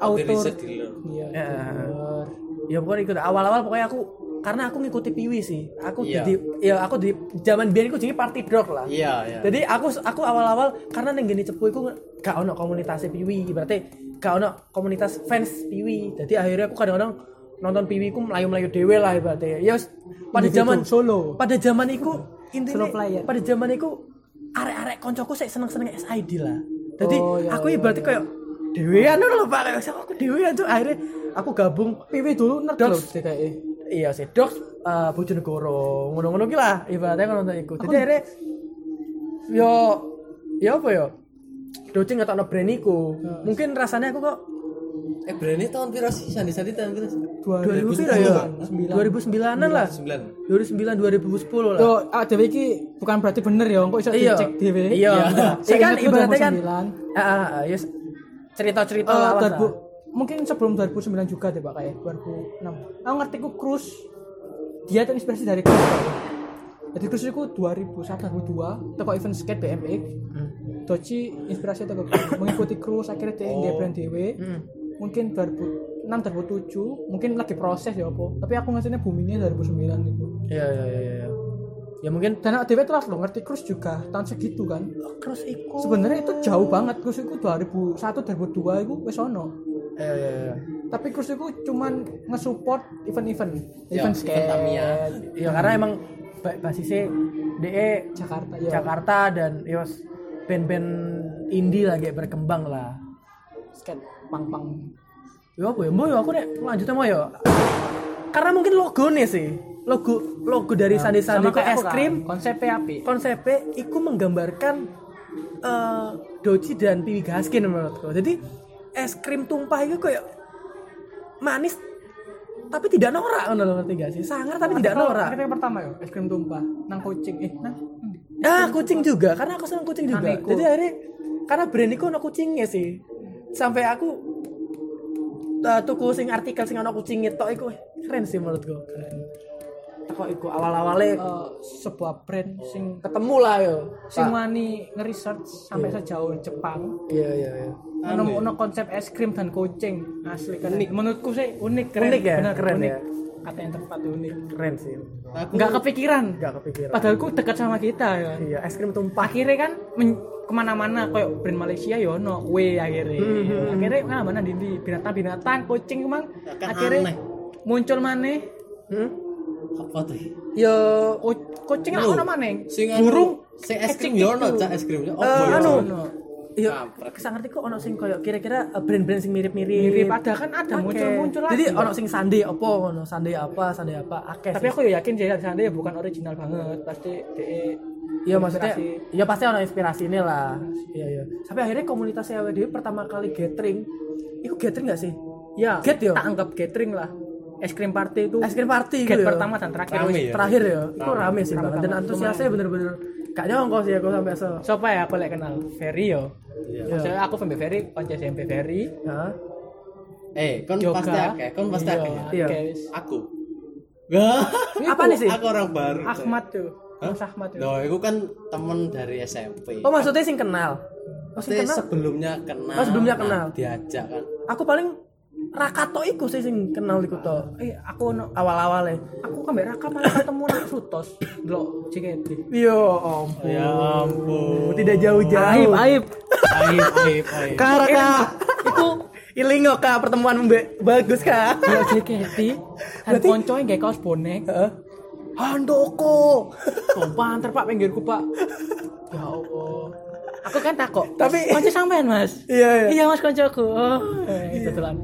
S4: Otoris
S1: autor.
S4: dealer.
S1: Iya.
S2: Ya.
S1: bener.
S2: Ya pokoknya ikut awal-awal pokoknya aku karena aku ngikuti piwi sih. Aku
S4: Iya.
S2: jadi ya aku di zaman biyen aku jadi party dog lah.
S4: Iya, iya.
S2: Jadi aku aku awal-awal karena neng gini cepu iku gak ono komunitas piwi, berarti gak ono komunitas fans piwi. Jadi akhirnya aku kadang-kadang nonton piwi ku melayu-melayu dewe lah berarti. Ya wis, pada
S1: Individu,
S2: zaman
S1: solo.
S2: Pada zaman iku intinya
S1: Solo player.
S2: pada zaman iku arek-arek koncoku sik seneng-seneng SID lah. Jadi
S1: Oh, iya,
S2: aku
S1: iya,
S2: berarti kayak dewean lho Pak, kayak aku dewean tuh akhirnya aku gabung
S1: PW dulu nerd
S2: Dogs.
S1: loh DKI.
S2: iya sih dok uh, bojonegoro ngono-ngono ki lah ibaratnya kan nonton iku jadi akhirnya yo yo apa yo Doci nggak tau brand iku mungkin rasanya aku kok
S4: Eh berani tahun piro sih? Sandi Sandi tahun piro?
S2: 2000 pira ya 2009an lah
S4: 2009.
S2: 2009 2010 lah
S1: Yo, ah Dewi iki bukan berarti bener ya, kok iso
S2: iya
S1: dicek Dewi.
S2: E. iya iya
S1: Saya ingat
S2: kan
S1: itu
S2: ibaratnya kan Oh,
S1: 2009.
S2: ah, ah, ah, yes. cerita-cerita
S1: Eh,
S2: lawas lah.
S1: 2000 mungkin sebelum 2009 juga deh Pak kayak 2006. Aku ngerti ku Cruz. Dia terinspirasi dari Cruz. Pak. Jadi Cruz itu 2001 2002 teko event skate BMX.
S2: Hmm.
S1: Doci inspirasi teko mengikuti Cruz akhirnya dia nge brand Dewi.
S2: Mm.
S1: Mungkin 2006 2007 mungkin lagi proses ya apa. Tapi aku ngasihnya buminya 2009 itu.
S2: iya iya iya iya. ya mungkin
S1: Dan awak dhewe telat lo ngerti Cruz juga tahun segitu kan.
S2: cross iku
S1: Sebenarnya itu jauh banget Cruz itu 2001 2002 itu wis ono.
S2: iya iya iya
S1: tapi Cruz itu cuman nge-support event-event
S4: Ya,
S1: event
S4: event
S1: skate
S4: Tamiya.
S2: ya karena emang ba- basisnya E DE
S1: Jakarta ya
S2: Jakarta dan ya wes, band-band indie lagi berkembang lah.
S1: skate pang-pang
S2: Ya apa ya, mau ya aku nek lanjutnya mau ya. Karena mungkin logo nih sih, logo logo dari Sandi Sandi
S1: Nah,
S2: ke
S1: kayak
S2: es
S1: aku kan,
S2: krim e
S1: konsepnya api
S2: konsepnya e, iku menggambarkan eh Doji dan Piwi Gaskin menurutku. Jadi es krim tumpah itu kayak manis tapi tidak norak ngono lho ngerti gak sih? Sangar
S1: Nah,
S2: tapi tidak norak.
S1: Kita yang pertama ya, es krim tumpah, nang kucing. Eh, nang
S2: Ah, kucing juga. Karena aku senang kucing juga.
S1: Kaneko.
S2: Jadi akhirnya karena brand iku ono kucingnya sih. Sampai aku eh, tuku sing artikel sing ono kucing tok iku eh, keren sih menurutku. Keren. Kok iku awal-awalnya
S1: eh, sebuah brand sing
S2: ketemu lah yo.
S1: sing
S2: Pak.
S1: wani nge-research sampai sejauh Jepang
S2: Iya iya iya.
S1: menemukan konsep es krim dan kucing asli keren. Menurutku sih unik keren.
S2: Unik ya?
S1: Bener,
S2: Keren
S1: unik.
S2: ya?
S1: Kata yang tepat unik.
S2: Keren sih.
S4: Aku
S1: Nggak kepikiran.
S2: Gak kepikiran.
S1: Padahal ku dekat sama kita ya.
S2: Iya, es krim tumpah.
S1: Akhirnya kan men- kemana-mana kayak brand Malaysia ya ono kue akhirnya.
S2: Mhm.
S1: Akhirnya kan mana di di binatang-binatang kucing emang
S4: Kan
S1: akhirnya
S4: aneh.
S1: muncul mana?
S2: Hmm?
S4: apa tuh?
S2: Yo
S1: Ku- Kucing
S4: Lu,
S1: aku nama neng.
S4: Sing anu-
S1: Burung.
S4: sing es krim yo ono, cak es krim yo. Oh,
S2: Eh,
S4: iya.
S2: anu. yo
S4: Kampret.
S2: kesang ngerti kok ono sing koyo kira-kira eh, brand-brand sing mirip-mirip.
S1: Mirip ada kan ada
S2: Akeh.
S1: muncul-muncul lagi.
S2: Jadi ono sing sande apa ngono, sande apa, sande apa, akeh.
S1: tapi
S2: sih.
S1: aku ya yakin jadi sana ya bukan original banget pasti E de
S2: ya maksudnya
S1: inspirasi.
S2: ya pasti ono inspirasi ini lah. Iya iya. Sampai akhirnya komunitas CWD pertama kali gathering, itu gathering gak sih?
S1: ya
S2: Get yo.
S1: tak anggap gathering lah es krim party itu
S2: Es krim party
S1: get
S2: gitu ya.
S1: pertama dan terakhir
S4: Rame
S1: wis.
S4: ya?
S2: terakhir ya, itu rame sih
S1: Rame
S2: banget dan
S1: banget.
S2: antusiasnya bener-bener gak nyongko sih aku sampai se.
S1: siapa ya aku lagi kenal Ferry yo
S4: Iya.
S2: Ya.
S1: maksudnya aku pembe Ferry konco SMP Ferry
S2: Hah?
S4: Eh, kon
S1: Yoga.
S4: pasti akeh, kon pasti
S1: Iya,
S4: akeh. ya?
S1: akeh,
S2: Iya.
S1: wis.
S4: Aku.
S2: Apa nih sih?
S4: Aku orang baru. Cak.
S1: Ahmad tuh Mas Ahmad tuh
S4: Loh, aku kan temen dari SMP.
S2: Oh maksudnya sing kenal. Oh, sing
S4: Pasti
S2: kenal.
S4: sebelumnya kenal.
S2: Oh, sebelumnya
S4: nah,
S2: kenal.
S4: diajak kan.
S2: Aku paling Rakato iku sih sing kenal iku to.
S1: eh
S2: ya.
S1: aku no,
S2: Awal-awalnya.
S1: aku kan mbak Raka malah ketemu nang Sutos lo JKT
S2: Yo ampun.
S4: Ya ampun.
S2: Tidak jauh-jauh.
S1: aib aib
S4: Aib, aib, aib.
S2: Kak, kak. itu ilingo kak pertemuan mbe- bagus kak.
S1: lo JKT dan
S2: Berarti-
S1: konco yang kayak kaos bonek
S2: Handoko.
S1: Kok banter pak pinggirku pak Ya Allah Aku kan takut
S2: Tapi-
S1: Konco sampean mas
S2: Iya, iya.
S1: mas koncoku Oh itu telan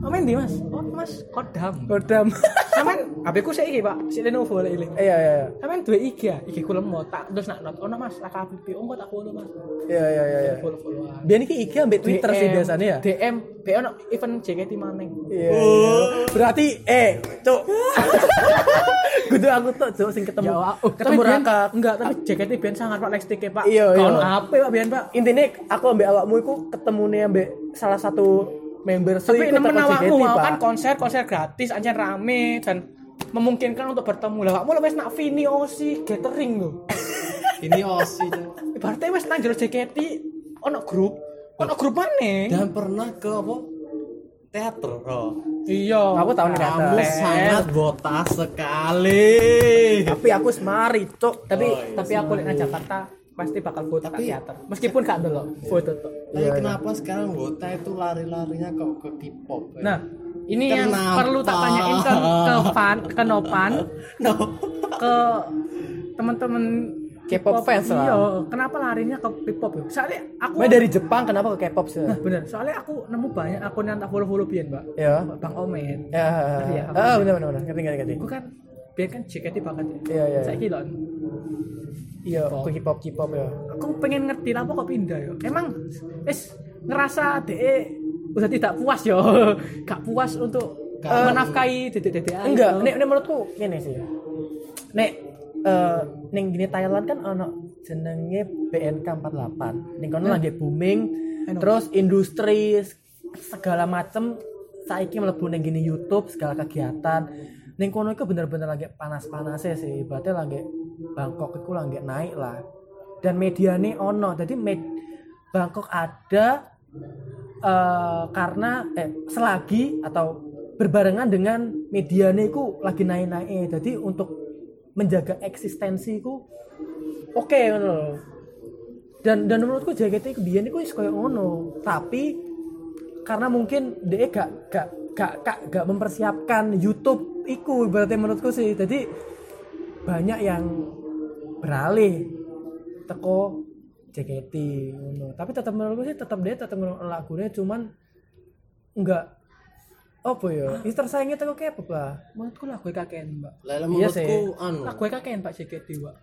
S1: Oh main di mas Oh mas kodam
S2: Kodam.
S1: Sampean HP ku saya pak Si Lenovo lah ini
S2: Iya iya iya.
S1: Sampean dua IG ya IG ku lemot tak Terus nak not Oh no, mas Laka HP Oh kok tak follow mas
S2: iya iya iya. iya.
S1: Follow followan
S2: Biar ini IG ambek Twitter sih
S1: DM,
S2: biasanya ya.
S1: DM BO no event JKT maning
S2: Iya. iya. Berarti eh cuk. Kudu aku tuh cuk sing ketemu.
S1: oh,
S2: ketemu
S1: tapi Bian-
S2: Raka.
S1: Enggak tapi JKT Ben sangat pak Next ticket pak
S2: Iya, iya.
S1: Kawan HP pak Bian pak
S2: Intinya aku ambek awakmu iku ketemu nih ambek salah satu member sih
S1: tapi
S2: ikut
S1: nemen
S2: teko
S1: awakmu
S2: JKT,
S1: mau
S2: Pak.
S1: kan konser konser gratis anjir rame dan memungkinkan untuk bertemu lah kamu wis nak Vini Osi gathering lho
S4: Ini osi. Cak.
S1: ibaratnya wis nang jero JKT ono grup ono grup mana
S4: Dan pernah ke apa? Teater. Oh.
S1: iya
S2: Aku tahun ini datang.
S4: Kamu sangat botas sekali.
S2: Tapi aku semari cuk.
S1: tapi
S4: Oh, iya.
S1: tapi aku lihat nang Jakarta pasti bakal foto tapi,
S4: Tapi-
S1: teater meskipun gak dulu foto tuh
S4: Tapi
S2: iya.
S4: kenapa sekarang Wota itu lari-larinya ke ke K-pop? ya?
S1: nah ini yang
S4: Kenapa?
S1: perlu tak tanyain ke ke fan ke Nopan
S4: no.
S1: ke teman-teman
S2: K-pop fans lah.
S1: iya kenapa larinya ke K-pop ya soalnya aku
S2: Mbak dari Jepang kenapa ke K-pop sih?
S1: Nah bener, soalnya aku nemu banyak akun yang tak follow-follow Bian mbak
S2: Ya.
S1: Bang Omen
S2: Ya.
S1: Iya.
S2: Ah, benar benar benar. Ngerti ngerti ngerti.
S1: Gue kan, Bian kan JKT banget ya
S2: Iya, iya, iya.
S1: Saya gila
S2: Iya, aku hip hop hip hop ya.
S1: Aku pengen ngerti lah kok pindah ya Emang, es ngerasa DE udah tidak puas yo Gak puas untuk
S4: Gak.
S1: eh, menafkahi dedek-dedek aja.
S2: Enggak, nek nek menurutku ngene sih. Nek eh ning gini Thailand kan ono jenenge BNK 48. Ning kono lagi booming.
S1: Eno.
S2: Terus industri s- segala macem saiki mlebu ning gini YouTube segala kegiatan. Ning kono iku bener-bener lagi panas-panasnya sih. Berarti lagi Bangkok iku lagi naik lah. Dan mediane ono. Jadi med Bangkok ada eh, karena eh, selagi atau berbarengan dengan medianya itu lagi naik-naik jadi untuk menjaga eksistensi itu oke ngono loh. dan dan menurutku JKT kebiasaan itu kayak ngono tapi karena mungkin dia gak gak gak gak, gak mempersiapkan YouTube iku berarti menurutku sih jadi banyak yang beralih teko JKT ngono. Tapi tetap menurutku sih tetap dia tetap ngelak lagunya cuman enggak apa ya? Ini tersaingnya teko K-pop lah.
S1: Menurutku lah gue kakek mbak
S4: Lele
S2: Iya
S4: menurutku
S2: sih.
S4: anu.
S1: Lah gue kakek mbak JKT mbak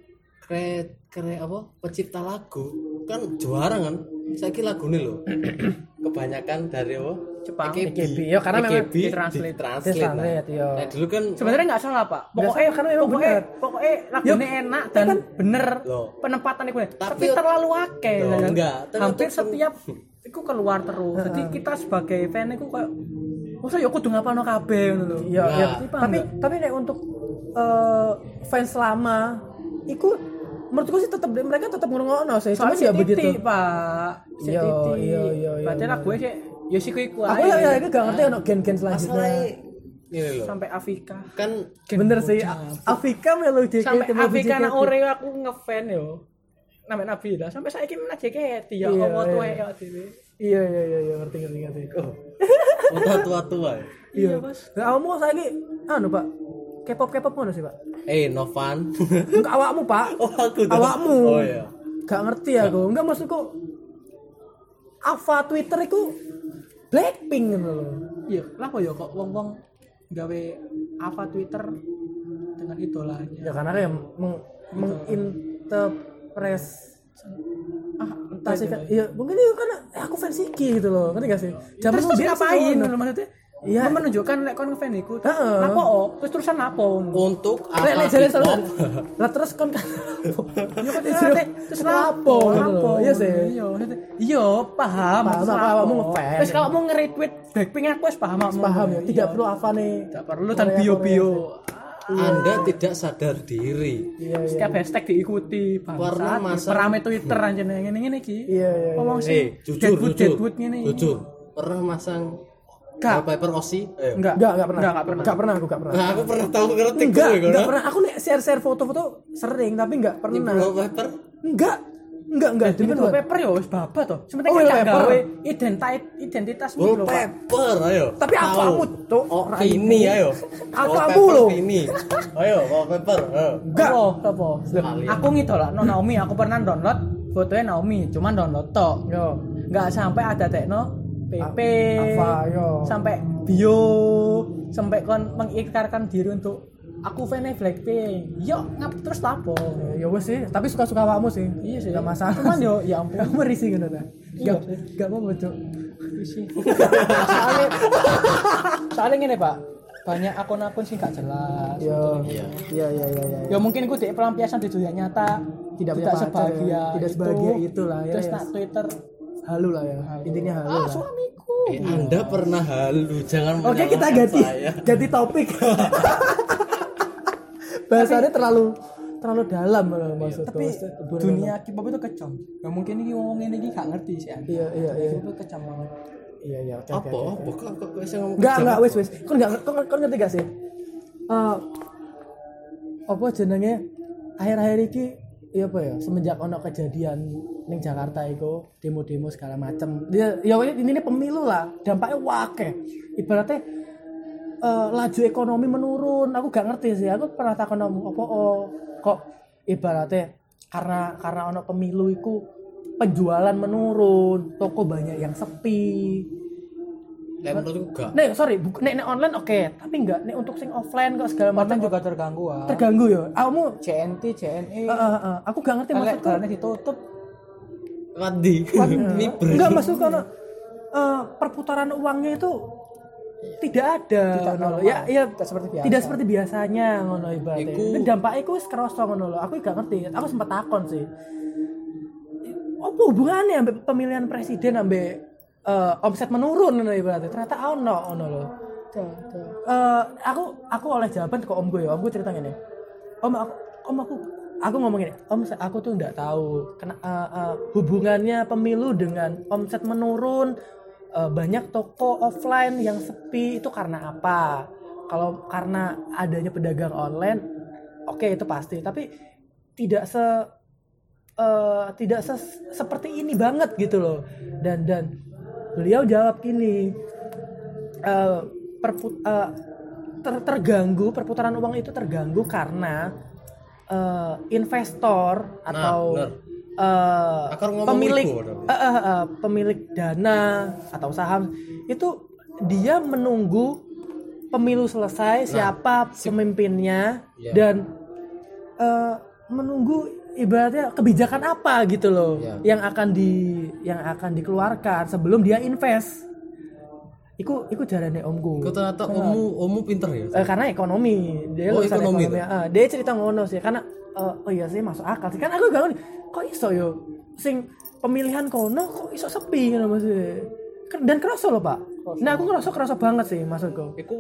S4: Kre kre apa? Pencipta lagu kan juara kan. Saiki lagune lho. ke kebanyakan dari apa?
S1: Jepang.
S2: EKB, ya, karena memang
S4: EKB
S2: ditranslate.
S4: ditranslate,
S2: Ditranslate,
S4: nah.
S2: ya.
S4: Nah, dulu kan
S1: sebenarnya nggak salah pak pokoknya
S2: Nggak salah,
S1: karena
S2: karena memang
S1: pokoknya,
S2: bener.
S1: pokoknya lagunya
S2: Yup.
S1: enak dan
S2: Kan?
S1: bener
S4: Loh.
S1: penempatan itu tapi,
S4: Tapi-
S1: terlalu akeh
S4: Loh,
S1: Dan
S4: enggak. Tapi
S1: hampir
S4: untuk-
S1: setiap itu keluar terus jadi kita sebagai fan itu kayak masa ya kudu ngapa no kabeh ngono lho
S2: Iya,
S4: Nah.
S2: iya.
S1: Jadi paham
S2: Tapi
S1: nggak?
S2: tapi nek untuk eh, fans lama iku menurutku sih tetap mereka tetap ngrungokno sih. Cuma
S1: soalnya
S2: ya
S1: ya
S2: begitu.
S1: pak Si
S2: Iya,
S1: titik.
S2: iya, iya, iya.
S1: berarti lagu sih ya sih iku
S2: Aku
S1: aja.
S2: ya, ya itu gak ngerti ono gen-gen selanjutnya.
S4: masalahnya ini loh.
S1: sampai Afika
S4: Kan
S2: Bener sih. Afika melu JKT.
S1: sampai
S2: melu
S1: Afika
S2: JKT.
S1: nak ore aku ngefan yo namanya Nabila sampai saya ini menang JKT ya
S2: Iya,
S1: Allah tuh
S2: iya.
S1: ya dewe.
S2: Iya iya iya iya, ngerti ngerti ngerti.
S4: udah tua-tua. ya.
S1: iya mas
S2: Nah, awakmu saiki anu Pak. K-pop K-pop ngono sih, Pak.
S4: Eh, Novan.
S2: Enggak awakmu, Pak.
S4: oh, aku tuh.
S2: Awakmu.
S4: Oh iya. Nah.
S2: Gak ngerti aku. Enggak maksudku Ava Twitter itu Blackpink gitu loh.
S1: iya kenapa ya kok wong wong gawe apa Twitter dengan idolanya
S2: ya karena kayak meng menginterpres
S1: ah entah sih
S2: tasikan ya mungkin itu karena eh, aku fans iki gitu loh ngerti gak
S4: Iya.
S2: sih Zaman
S1: terus terus
S2: biar
S1: ngapain
S2: sih
S1: lho, maksudnya
S2: Iya.
S1: Lu menunjukkan lek kon ngefan iku
S2: Heeh.
S1: apa oh terus terusan apa
S4: Untuk
S2: lek
S4: apa
S2: lek jalan
S4: K-pop?
S2: terus lah terus kon kan
S1: terus lapo
S2: lapo iya sih
S1: iya maksudnya, iya paham
S2: Paham,
S1: terus
S2: apa
S1: lapo.
S2: kamu ngefans?
S1: terus kalau mau nge-retweet Blackpink aku wis paham aku.
S2: paham ya tidak
S1: Iya.
S2: perlu apa nih
S1: tidak perlu dan
S2: Korea,
S1: bio bio
S4: Anda tidak sadar diri.
S2: iya iya
S1: setiap hashtag diikuti
S4: Warna
S1: bangsat
S4: masa-
S1: rame Twitter anjir ngene ngene iki
S2: Iya, iya, iya.
S1: ngomong
S4: Eh,
S1: sih
S4: jujur,
S1: deadwood
S4: jujur.
S1: deadwood ngene iki.
S4: Jujur. Pernah masang
S1: Gak.
S4: wallpaper osi? Eh.
S1: enggak
S2: enggak enggak pernah
S1: enggak enggak pernah
S2: enggak pernah aku enggak pernah
S4: Nah, aku pernah tahu ngerti
S2: enggak
S4: gue,
S2: enggak
S4: kan?
S2: pernah aku nek share share foto-foto sering tapi enggak
S4: Ini
S2: pernah
S4: wallpaper.
S2: enggak enggak enggak
S1: Demi
S2: Beneran.
S1: wallpaper ya wis babat to. Sementara
S2: Oh,
S1: kan gak
S2: wallpaper.
S1: gawe identitas identitasmu lho, Pak.
S4: Wallpaper, ayo.
S2: Oh, Tapi apa
S4: Tahu.
S2: kamu, Cuk?
S4: Oh, ini ayo.
S2: Apa
S4: Wallpaper
S2: kamu, loh?
S4: Ini. Ayo, wallpaper. ayo.
S2: enggak
S1: Apa? Apa?
S4: Sekalian.
S1: Aku ngidolakno Naomi, aku pernah download fotonya Naomi, cuman download tok.
S2: yo
S1: Enggak sampai ada tekno PP
S2: apa yo
S1: sampai bio sampai kon mengikrarkan diri untuk aku fan Blackpink. Yo, ngap terus lapo.
S2: Ya, Ya wes sih, tapi suka-suka awakmu sih.
S1: Iya sih.
S2: Gak masalah.
S1: Cuman yo ya ampun.
S2: kamu risih gitu ta.
S1: Iya
S2: Gak
S1: sih.
S2: gak mau bocok.
S1: soalnya soalnya ngene, Pak. Banyak akun-akun sih gak jelas.
S2: Yo.
S4: Iya.
S2: Iya iya iya iya.
S1: ya mungkin gue di pelampiasan di dunia nyata tidak,
S2: punya pacar,
S1: sebahagia
S2: ya. Tidak sebahagia itulah, ya,
S1: terus
S2: ya.
S1: nak twitter
S2: Halu lah ya. Intinya halu
S1: ah
S2: lah.
S1: suamiku
S2: Iya,
S4: Eh, Anda pernah halu, jangan
S2: Oke, kita
S4: menyalahkan
S2: ganti
S4: saya.
S2: ganti topik. Bahasannya terlalu terlalu dalam loh maksudku.
S1: tapi
S2: Maksudku,
S1: dunia K-pop itu kejam ya mungkin ini wong ini iki gak ngerti sih Andi.
S2: Iya, iya, iya.
S1: K-pop itu kejam banget
S2: iya iya oke oke.
S4: Apa? Apa kok kok kok saya ngomong
S2: Enggak,
S4: kejam?
S2: enggak, wes, wes. Kon enggak kon, kon ngerti gak sih? Eh apa jenenge akhir-akhir iki ya apa ya semenjak ono kejadian ning Jakarta iku demo-demo segala macem ya ya pokoknya ini pemilu lah dampaknya wake ibaratnya eh, laju ekonomi menurun aku gak ngerti sih aku pernah takon om apa oh, kok ibaratnya karena karena ono pemilu iku penjualan menurun toko banyak yang sepi
S4: Lah, menurutku enggak.
S2: Nek sorry, buk- nek, nek online oke, tapi enggak nek untuk sing offline kok segala macam
S1: Online juga terganggu ah
S2: terganggu ya. Kamu
S1: CNT CNE
S2: eh, eh, eh, aku gak ngerti
S1: Alek
S2: maksudku.
S1: karena ditutup
S4: Wadi. Ini ber-
S2: Enggak maksudku karena eh, perputaran uangnya itu tidak ada.
S1: Tidak
S2: ngono lho.
S1: normal.
S2: ya, ya
S1: Tidak seperti biasa.
S2: Tidak seperti biasanya ngono ibaratnya.
S4: Iku-
S2: Dan dampaknya iku wis kerasa ngono lho. Aku gak ngerti. Aku sempat takon sih. Apa hubungannya ambek pemilihan presiden ambek eh, omset menurun ngono ibaratnya. Ternyata ono ngono lho.
S1: Tuh, tuh.
S2: Eh, aku aku oleh jawaban ke om gue ya om gue cerita gini om aku om aku aku ngomong gini om sa- aku tuh nggak tahu kena eh, eh, hubungannya pemilu dengan omset menurun eh, banyak toko offline yang sepi itu karena apa kalau karena adanya pedagang online oke itu pasti tapi tidak se eh, tidak se- seperti ini banget gitu loh dan dan beliau jawab gini eh, perput eh, ter- terganggu perputaran uang itu terganggu karena eh, investor atau
S4: bener.
S2: eh,
S4: Akar ngomong
S2: pemilik
S4: wibu, berarti.
S2: eh, eh, eh, pemilik dana atau saham itu dia menunggu pemilu selesai siapa pemimpinnya
S4: Nah, Iya.
S2: dan eh, menunggu ibaratnya kebijakan apa gitu loh
S4: Iya.
S2: yang akan di yang akan dikeluarkan sebelum dia invest. Iku iku jarane omku.
S4: Iku ternyata omu omu pinter ya.
S2: Eh, karena ekonomi dia
S4: Oh,
S2: lulusan
S4: ekonomi
S2: ekonomi. Ah, dia cerita ngono sih karena eh, oh iya sih masuk akal sih kan aku gak ngerti kok iso yo sing pemilihan kono kok iso sepi ngono maksudnya Ker- dan kerasa loh pak nah aku ngerasa kerasa banget sih maksudku
S4: Iku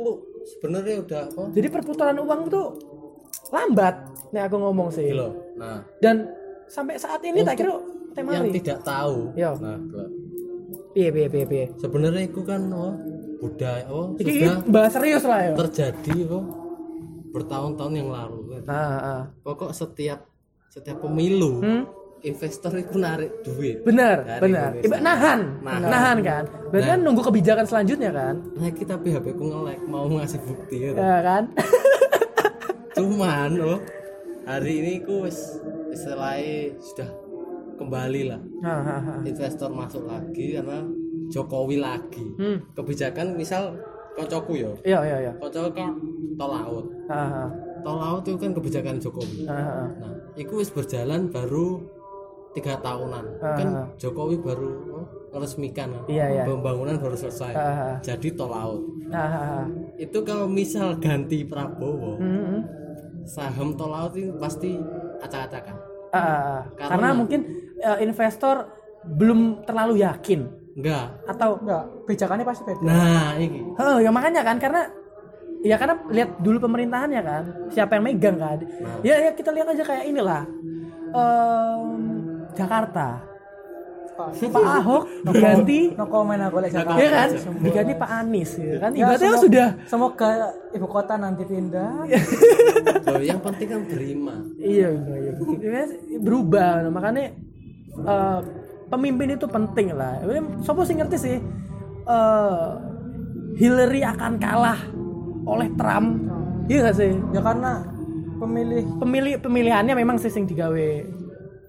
S4: sebenarnya udah apa?
S2: jadi perputaran uang tuh lambat nih aku ngomong sih
S4: Gitu loh. Nah,
S2: dan sampai saat ini tak kira
S4: yang
S2: temari
S4: tidak tahu.
S2: Iya.
S4: Nah, gua-
S2: piye piye piye piye
S4: sebenarnya iku kan oh, budaya oh,
S2: Iki-
S4: sudah
S2: iki bahas serius lah ya
S4: terjadi oh, bertahun-tahun yang lalu. kan.
S2: ah, ah.
S4: Pokok setiap setiap pemilu
S2: Hmm?
S4: investor itu narik duit.
S2: benar
S4: Dari
S2: benar
S4: Indonesia.
S2: iba nahan
S4: Nahan.
S2: nahan, kan berarti kan nunggu kebijakan selanjutnya kan
S4: Nah, kita tapi HP ku nge-lag mau ngasih bukti gitu.
S2: ya kan
S4: Cuman oh, hari ini ku wis istilahnya sudah kembali lah.
S2: Ah, ah, ah.
S4: Investor masuk lagi karena Jokowi lagi.
S2: hmm
S4: Kebijakan misal kocoku ya.
S2: iya iya iya
S4: Kocoku kan tol laut.
S2: Ah, ah,
S4: Tol laut itu kan kebijakan Jokowi.
S2: ah, ah.
S4: Nah, itu wis berjalan baru tiga tahunan.
S2: Ah.
S4: Kan Jokowi baru oh, meresmikan lah.
S2: Iya, iya.
S4: pembangunan baru selesai.
S2: Ah, ah.
S4: Jadi tol laut.
S2: Ah, ah, ah.
S4: Itu kalau misal ganti
S2: Hmm,
S4: Prabowo,
S1: Mm-hmm.
S2: hmm.
S4: saham tol laut itu pasti acak-acakan.
S2: Ah, ah, ah.
S4: Karena-
S2: karena mungkin eh, investor belum terlalu yakin
S4: Enggak.
S2: atau
S1: Enggak, bejakannya pasti beda.
S4: Nah, ini
S2: Oh, ya makanya kan karena ya karena lihat dulu pemerintahannya kan siapa yang megang kan
S4: Nah.
S2: ya, ya kita lihat aja kayak inilah Em, Jakarta Pak
S1: Iya.
S2: Ahok diganti
S1: no komen aku lek Jakarta.
S2: ya kan
S1: Semua.
S2: diganti Pak Anies ya kan
S1: Ya,
S2: ibaratnya
S1: semoga-
S2: sudah
S1: semoga ibu kota nanti pindah.
S4: Loh, yang penting kan terima.
S2: iya iya, iya. Ibaratnya berubah nah, makanya eh, pemimpin itu penting lah sopo sih ngerti sih eh, Hillary akan kalah oleh Trump iya gak sih
S1: Ya karena pemilih
S2: pemilih pemilihannya memang sih sing digawe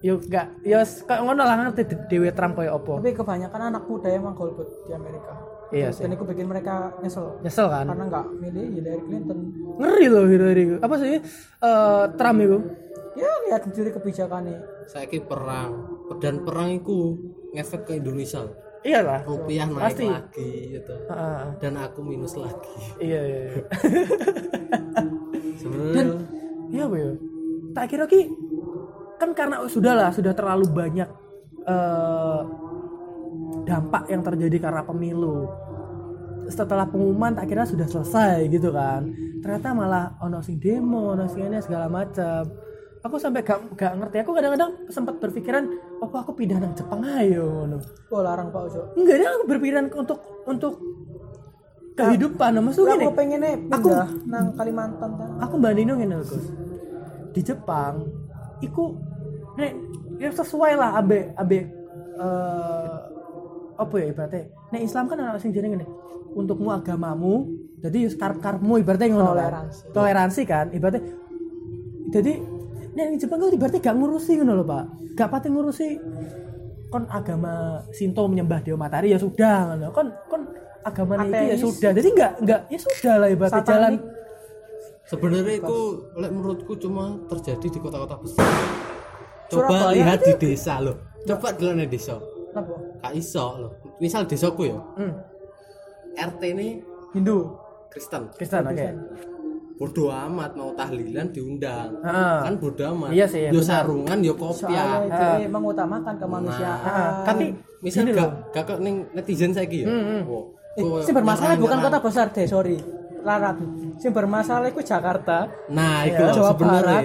S2: yo gak yo kayak ngono lah ngerti de- dewe Trump koyo opo
S1: tapi kebanyakan anak muda emang golput di Amerika.
S2: Iya
S1: Dan itu bikin mereka nyesel
S2: nyesel kan
S1: karena nggak milih Hillary Clinton.
S2: ngeri loh Hillary itu. apa sih Eh, Trump itu
S1: Ya lihat sendiri kebijakannya.
S4: Saya perang dan perang itu ngefek ke Indonesia.
S2: iya lah
S4: Rupiah naik
S2: Pasti.
S4: lagi gitu.
S2: Heeh.
S4: Dan aku minus lagi.
S2: iya iya iya.
S4: Sebenarnya
S2: iya apa ya? tak kira ki kan karena sudah lah sudah terlalu banyak eh, dampak yang terjadi karena pemilu setelah pengumuman tak kira sudah selesai gitu kan ternyata malah ono sing demo ono sing ini segala macam aku sampai gak, gak ngerti aku kadang-kadang sempat berpikiran apa aku pindah nang Jepang ayo ngono
S1: Oh larang Pak Ojo.
S2: enggak dia aku berpikiran untuk untuk kehidupan maksudnya
S1: Aku
S2: gini
S1: pengennya pindah nang Kalimantan ta.
S2: aku bandingin ngene lho, Gus. Di Jepang iku nek ya sesuai lah abe abe eh apa ya ibaratnya nek Islam kan ana sing jenenge ngene untukmu agamamu jadi karep karepmu ibaratnya ngono kan.
S1: Toleransi.
S2: toleransi kan ibaratnya jadi nek di Jepang kan ibaratnya gak ngurusi ngono lho Pak gak pati ngurusi kon agama Shinto menyembah Dewa Matahari ya sudah ngono kon kon agama ini
S1: Ateis.
S2: ya sudah jadi nggak nggak ya sudah lah ibaratnya
S1: Satanik.
S2: jalan
S4: sebenarnya itu lek menurutku cuma terjadi di kota-kota besar. Coba
S1: Surabaya
S4: lihat di desa loh. Coba dulu nih desa.
S1: Apa?
S4: Kak iso loh. Misal desaku ya,
S2: Hmm.
S4: RT ini
S1: Hindu.
S4: Kristen.
S2: Kristen, oke.
S4: Bodoh amat mau tahlilan diundang.
S2: Ah.
S4: Kan bodoh amat.
S2: Iya sih,
S4: Yo sarungan, yo
S1: ya,
S4: kopiah.
S1: Soalnya dia mengutamakan kemanusiaan.
S2: Ya, eh. Ah, tapi
S4: Misal
S2: gini
S4: gak,
S2: loh.
S4: kakak ning netizen saiki ya. Wo,
S1: Eh,
S4: wo-
S1: sing bermasalah bukan kota
S4: nyerang-nyerang.
S1: besar deh, sorry. Larat. Sing bermasalah itu Jakarta.
S4: Nah, itu
S1: Iya. Jawa
S4: sebenarnya
S1: Barat.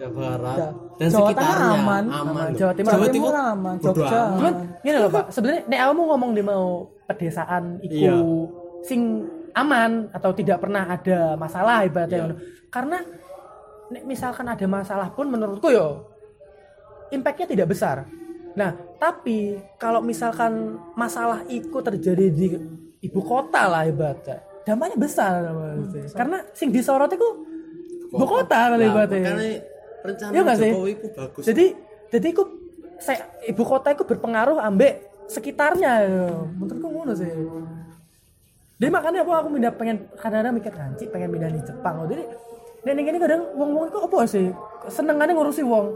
S4: Jawa Barat
S1: Iya.
S4: dan
S1: Jawa
S4: sekitarnya
S1: Tengah aman.
S4: aman.
S2: Aman.
S4: loh.
S2: Jawa Timur
S4: Jawa
S1: aman.
S4: Timur
S1: aman.
S4: bodoh
S1: Jogja.
S4: amat.
S2: Cuman gini loh Pak, sebenarnya nek kamu ngomong di mau pedesaan iku
S4: Iya.
S2: sing aman atau tidak pernah ada masalah
S4: Iya.
S2: ibaratnya ngono. Karena nek misalkan ada masalah pun menurutku yo impactnya tidak besar. Nah, tapi kalau misalkan masalah itu terjadi di ibu kota lah ibaratnya, dampaknya besar maksudnya. Karena sing disorot itu ibu kota lah
S4: Nah,
S2: ibaratnya.
S4: makanya rencana
S2: Iya nggak sih?
S4: Jokowi itu bagus.
S2: Jadi jadi aku saya ibu kota itu berpengaruh ambek sekitarnya. Menurutku ngono sih. Jadi makanya aku aku pindah pengen kadang-kadang mikir kanci pengen pindah di Jepang. Jadi nek ning kene kadang wong-wong itu apa sih? Senengane ngurusi wong.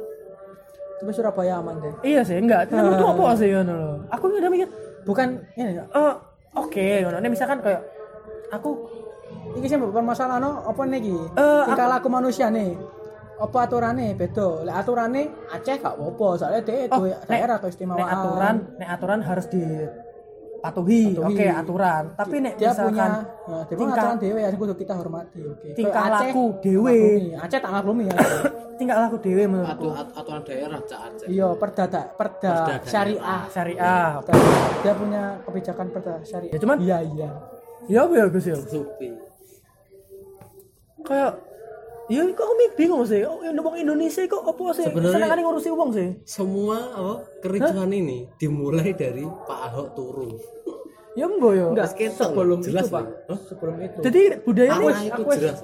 S1: tapi Surabaya aman deh
S2: Iya sih, enggak. Tapi menurutku apa sih ngono lho. Aku udah mikir,
S1: bukan ini
S2: eh oke ngono. Ini misalkan kayak aku
S1: iki sih bukan masalah no apa nih iki
S2: Eh,
S1: tingkah laku manusia nih apa aturannya beda lek aturannya Aceh gak apa soalnya dia
S2: oh,
S1: itu daerah keistimewaan
S2: nek aturan, nek aturan harus
S1: Patuhi.
S2: dipatuhi. Oke, aturan. Tapi nek
S1: dia
S2: misalkan
S1: punya nah, dia punya
S2: tingkah
S1: aturan dewe yang kudu kita hormati oke
S2: Tingkah
S1: Kayak Aceh,
S2: laku dewe.
S1: maklumi. Aceh tak maklumi ya
S2: tingkah laku dewe menurutku.
S4: Atu, at, aturan daerah cak Aceh.
S1: iya perda tak- perda
S4: Perda kan.
S1: syariah
S2: Syariah.
S1: dia punya kebijakan perda syariah
S2: Ya, cuman-
S1: iya iya
S2: Ya apa ya Gus ya?
S4: Supi.
S2: Kayak Ya, kok aku bingung sih. Oh, yang wong Indonesia kok apa sih?
S4: Sebenarnya-
S2: Senengane ngurusi wong sih.
S4: Semua oh, kericuhan ini dimulai dari Pak Ahok turun.
S2: Ya enggak ya.
S1: enggak
S4: Mas Keton,
S1: sebelum
S4: jelas
S1: itu pak
S4: nih. Hah?
S1: sebelum itu
S2: Jadi budaya
S4: Aku
S2: ini
S4: aku
S1: aku wis-
S4: jelas.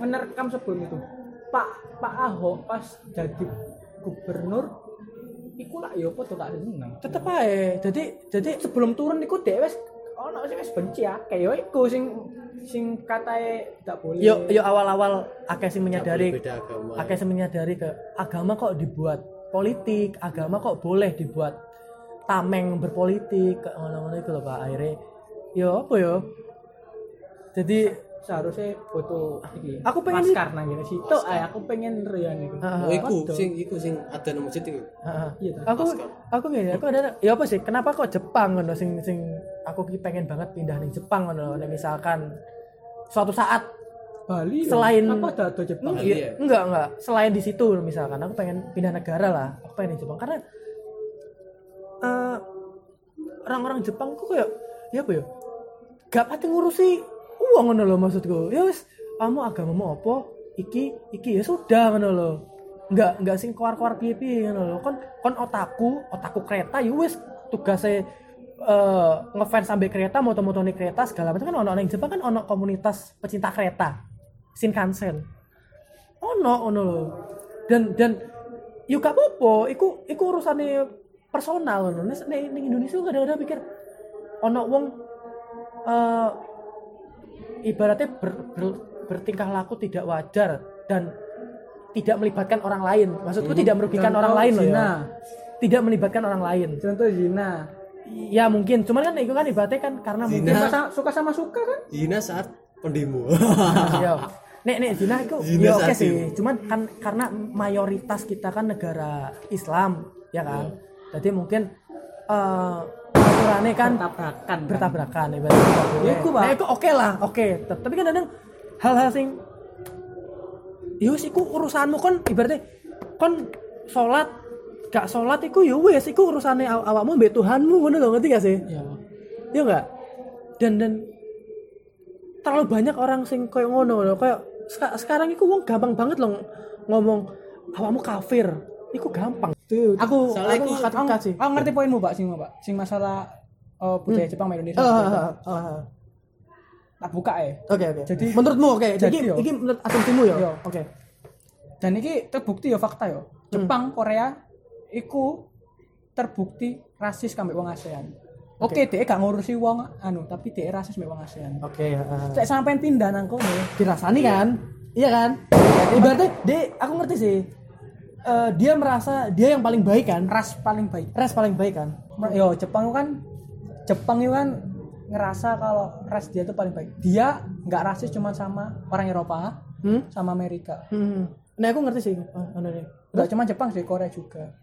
S1: menerkam sebelum itu Pak Pak Ahok pas jadi gubernur iku lah ya apa tuh gak seneng
S2: tetep aja. Jadi jadi
S1: sebelum turun iku dhek wis ono sing wis benci akeh ya iku sing sing katae gak boleh
S2: yo yo ya, awal-awal akeh sing menyadari
S4: Nggak boleh beda agama.
S2: akeh sing menyadari ke agama kok dibuat politik, agama kok boleh dibuat tameng berpolitik kayak ngono-ngono itu loh Pak akhirnya yo apa yo jadi
S1: seharusnya foto iki
S2: Aku pengen-
S1: maskar nang ngene situ ae aku pengen rian iku
S2: Ah.
S4: Oh, iku
S1: Waduh.
S4: sing iku sing ada nang masjid iku.
S2: ha, ha.
S1: Iya, tak
S2: aku
S4: masker.
S2: aku gini aku ada ya apa sih kenapa kok Jepang ngono sing sing aku ki pengen banget pindah nih Jepang ngono Nek misalkan suatu saat
S1: Bali ya.
S2: Selain-
S1: apa ada ada Jepang
S4: Bali
S2: Iya,
S4: ya?
S2: enggak enggak selain di situ misalkan aku pengen pindah negara lah aku pengen di Jepang karena eh, orang-orang Jepang kok kayak ya apa ya gak pati ngurusi uang ngono loh maksudku ya wis kamu agamamu apa iki iki ya sudah ngono loh enggak enggak sing keluar-keluar piye-piye ngono loh kon kon otaku otaku kereta ya wis tugasnya eh ngefans sampai kereta moto-motoni kereta segala macam kan ono ono yang Jepang kan ono komunitas pecinta kereta Shinkansen ono ono lho dan dan yo gak apa-apa iku iku urusane personal ngono nek nek ning Indonesia kadang-kadang pikir ono wong eh ibaratnya ber- ber- bertingkah laku tidak wajar dan tidak melibatkan orang lain maksudku tidak merugikan
S1: Contoh
S2: orang lain loh ya.
S1: zina.
S2: tidak melibatkan orang lain
S1: contoh zina
S2: ya mungkin cuman kan itu kan ibaratnya kan karena mungkin
S1: suka,
S4: Zina.
S1: sama, suka sama suka kan
S4: Dina saat pendemo.
S2: ya nek nek zina itu
S4: Zina
S2: ya oke
S4: saat
S2: sih
S4: ini.
S2: cuman kan karena mayoritas kita kan negara Islam ya
S1: Iya.
S2: kan jadi mungkin eh aturannya kan
S1: tabrakan
S2: bertabrakan ibaratnya nggak boleh.
S1: Ya, iku, Pak.
S2: Nah, iku oke lah oke Tet- tapi kan kadang hal-hal sing yus iku urusanmu kon ibaratnya kon sholat gak sholat iku ya wes iku urusannya aw- awakmu mbek Tuhanmu ngono lho ngerti gak sih
S1: ya
S2: ya enggak dan dan terlalu banyak orang sing koyo ngono loh koyo seka- sekarang iku wong gampang banget loh ngomong awamu kafir iku gampang
S1: Dude, aku
S4: Soalnya
S1: aku,
S4: aku-
S1: aku,
S2: aku-
S1: aku, ngerti poinmu pak sing pak sing masalah eh, budaya Jepang sama
S2: Ah,
S1: Indonesia
S2: Eh.
S1: budaya Jepang. tak buka ya
S2: oke oke
S1: Jadi-
S2: menurutmu oke
S1: jadi
S2: iki
S1: yo.
S2: iki menurut asumsimu ya
S1: Yo.
S2: oke
S1: dan ini terbukti ya fakta ya Jepang Korea iku terbukti rasis kambing wong ASEAN oke dia gak ngurusi wong anu tapi dia rasis kambing wong ASEAN
S2: oke ah,
S1: saya sampein pindah nang kono
S2: dirasani kan iya kan ibaratnya dia aku ngerti sih Eh, dia merasa dia yang paling baik kan
S1: ras paling baik
S2: ras paling baik kan
S1: yo Jepang itu kan Jepang itu kan ngerasa kalau ras dia tuh paling baik dia nggak rasis cuma sama orang Eropa
S2: hmm?
S1: sama Amerika
S2: hmm. nah aku ngerti sih oh, anu nih.
S1: Gak cuma Jepang sih, Korea juga.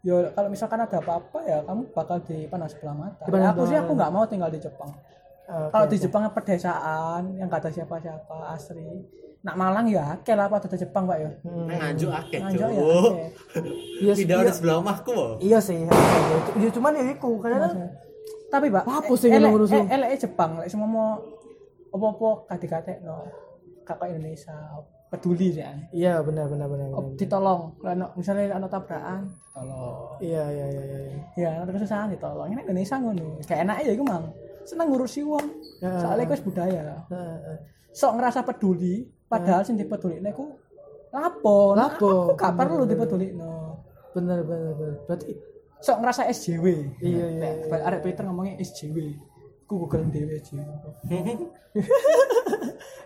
S1: Yo kalau misalkan ada apa-apa ya kamu bakal dipanas sebelah mata. Ya,
S2: Dipanas
S1: aku sih
S2: sebelah
S1: aku nggak mau tinggal di Jepang.
S2: Oke,
S1: kalau di
S2: oke.
S1: Jepang pedesaan yang gak ada siapa-siapa asri. Nak Malang ya akeh lah apa ada Jepang pak ya.
S4: Nang nganjuk akeh,
S1: Nganjuk ya
S4: Cuk. Oh,
S1: akeh.
S2: Iya sih,
S4: Pindah
S2: iya,
S4: di sebelah omahku oh. kok.
S2: iya sih. iya, iya. Ya cuman ya iku kadang
S1: Tapi pak,
S2: Apa sih yang
S1: elek-
S2: ngurusi?
S1: eh, eleke Jepang, lek semua mau opo-opo kate-kate no kakak Indonesia peduli ya.
S2: Iya benar benar benar. benar.
S1: Ditolong, kalau ono- misalnya ono tabrakan, ditolong.
S2: Iya iya iya iya. iya.
S1: ya nanti kesusahan ditolong ini Indonesia ngono kayak enak ya iku mang seneng ngurusi wong
S2: Ya.
S1: soalnya iku wis budaya
S2: Heeh, heeh.
S1: sok ngerasa peduli padahal sing dipedulikne iku lapo Nah, aku
S2: Lapo.
S1: gak perlu dipedulikno
S2: Benar benar benar. Berarti
S1: sok ngerasa SJW
S2: Iya, iya,
S1: Nek, bal- arek Twitter ngomongnya SJW ku google dhewe SJW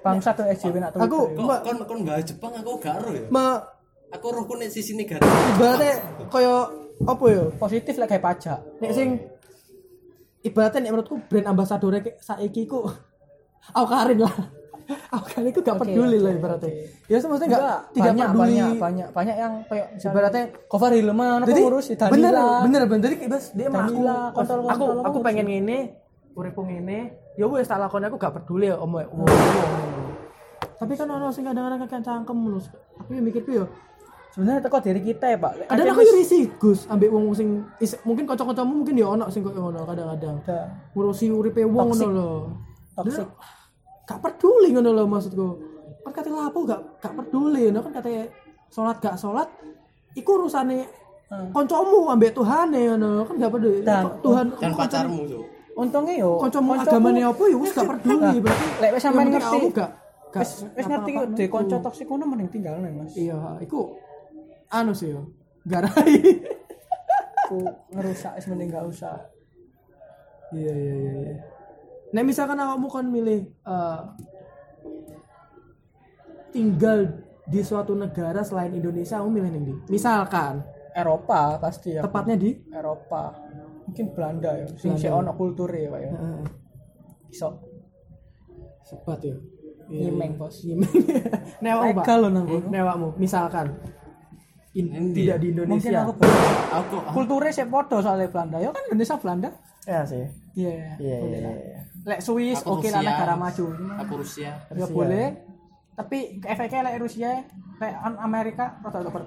S1: bangsa tuh SJW nak Twitter
S2: Aku-
S1: ya.
S4: Kok
S2: Mbak-
S4: kon kon bahas Jepang aku gak ero ya.
S2: me
S4: Aku roh nek sisi negatif.
S2: ibaratnya koyo apa ya?
S1: positif lah kayak pajak
S2: Nek sing ibaratnya nek menurutku brand ambasadore kayak saiki ku aku karin lah. Aku karin ku gak
S1: Oke,
S2: peduli
S1: oke,
S2: lah ibaratnya.
S1: oke.
S2: Ya maksudnya gak tidak
S1: banyak,
S2: peduli.
S1: banyak banyak banyak yang kayak
S2: Ibaratnya
S1: cover hilman apa
S2: Jadi
S1: ngurus ya di Danila
S2: bener bener bener jadi kayak bas dia mah aku
S1: Danila, kontol, kontol,
S2: aku
S1: kontol,
S2: aku
S1: kontol.
S2: pengen ngene uripku ngene ya wes tak lakoni aku gak peduli ya omong omong- omong. Tapi kan ono sing kadang-kadang kayak cangkem lho. Aku ya mikir ku yo
S1: sebenarnya teko diri kita ya pak Kadang
S2: kadang aku
S1: wis-
S2: yo risih Gus ambek wong sing is- mungkin kocok-kocokmu mungkin ya ono sing koyo ngono kadang-kadang.
S1: Udah.
S2: ngurusi uripe wong ngono
S1: Toxic.
S2: lho.
S1: Toxic.
S2: Dia Gak peduli ngono lho maksudku. Kan kate lapo gak gak peduli ngono kan kate salat gak salat iku urusane
S1: Hmm.
S2: koncomu ambek Tuhane ngono kan gak peduli.
S1: Dan-
S2: Kok Tuhan
S4: dan
S2: koncomu
S4: Kan pacarmu tuh
S1: untungnya yo
S2: koncomu
S1: koncoku-
S2: agamane apa ya wis gak peduli
S1: Nah,
S2: berarti.
S1: lek wis sampean
S2: yang penting
S1: ngerti.
S2: aku gak gak
S1: wis wis ngerti kok
S2: ngapa-ngapain
S1: deh konco
S2: aku.
S1: toksik kono mending tinggal nih mas
S2: Iya, iku anu sih yo. Garai.
S1: aku ngerusak wis mending gak usah
S2: Iya iya iya. iya. Nah misalkan kamu kan milih eh, tinggal di suatu negara selain Indonesia, kamu milih nih Misalkan,
S1: Eropa pasti ya
S2: tepatnya di
S1: Eropa mungkin Belanda ya sing sih ono kulture ya pak ya
S2: eh,
S1: iso
S2: sebat ya.
S1: nyimeng bos
S2: Nyimeng. Newakmu, Pak.
S1: Iya, Legal loh, nang kono.
S2: Newakmu. Misalkan in-
S4: Endi?
S2: tidak di Indonesia.
S1: mungkin aku belum
S4: aku
S1: kulture sih podo soalnya Belanda ya kan Indonesia Belanda
S2: Ya sih.
S1: iya
S2: Iya iya.
S1: boleh lah.
S2: iya.
S1: lek Swiss
S4: Aku
S1: oke lah
S4: Rusia.
S1: negara maju Cuma
S4: aku Rusia
S1: ya
S2: Rusia.
S1: boleh tapi efeknya lek Rusia lek an- Amerika rata-rata ber-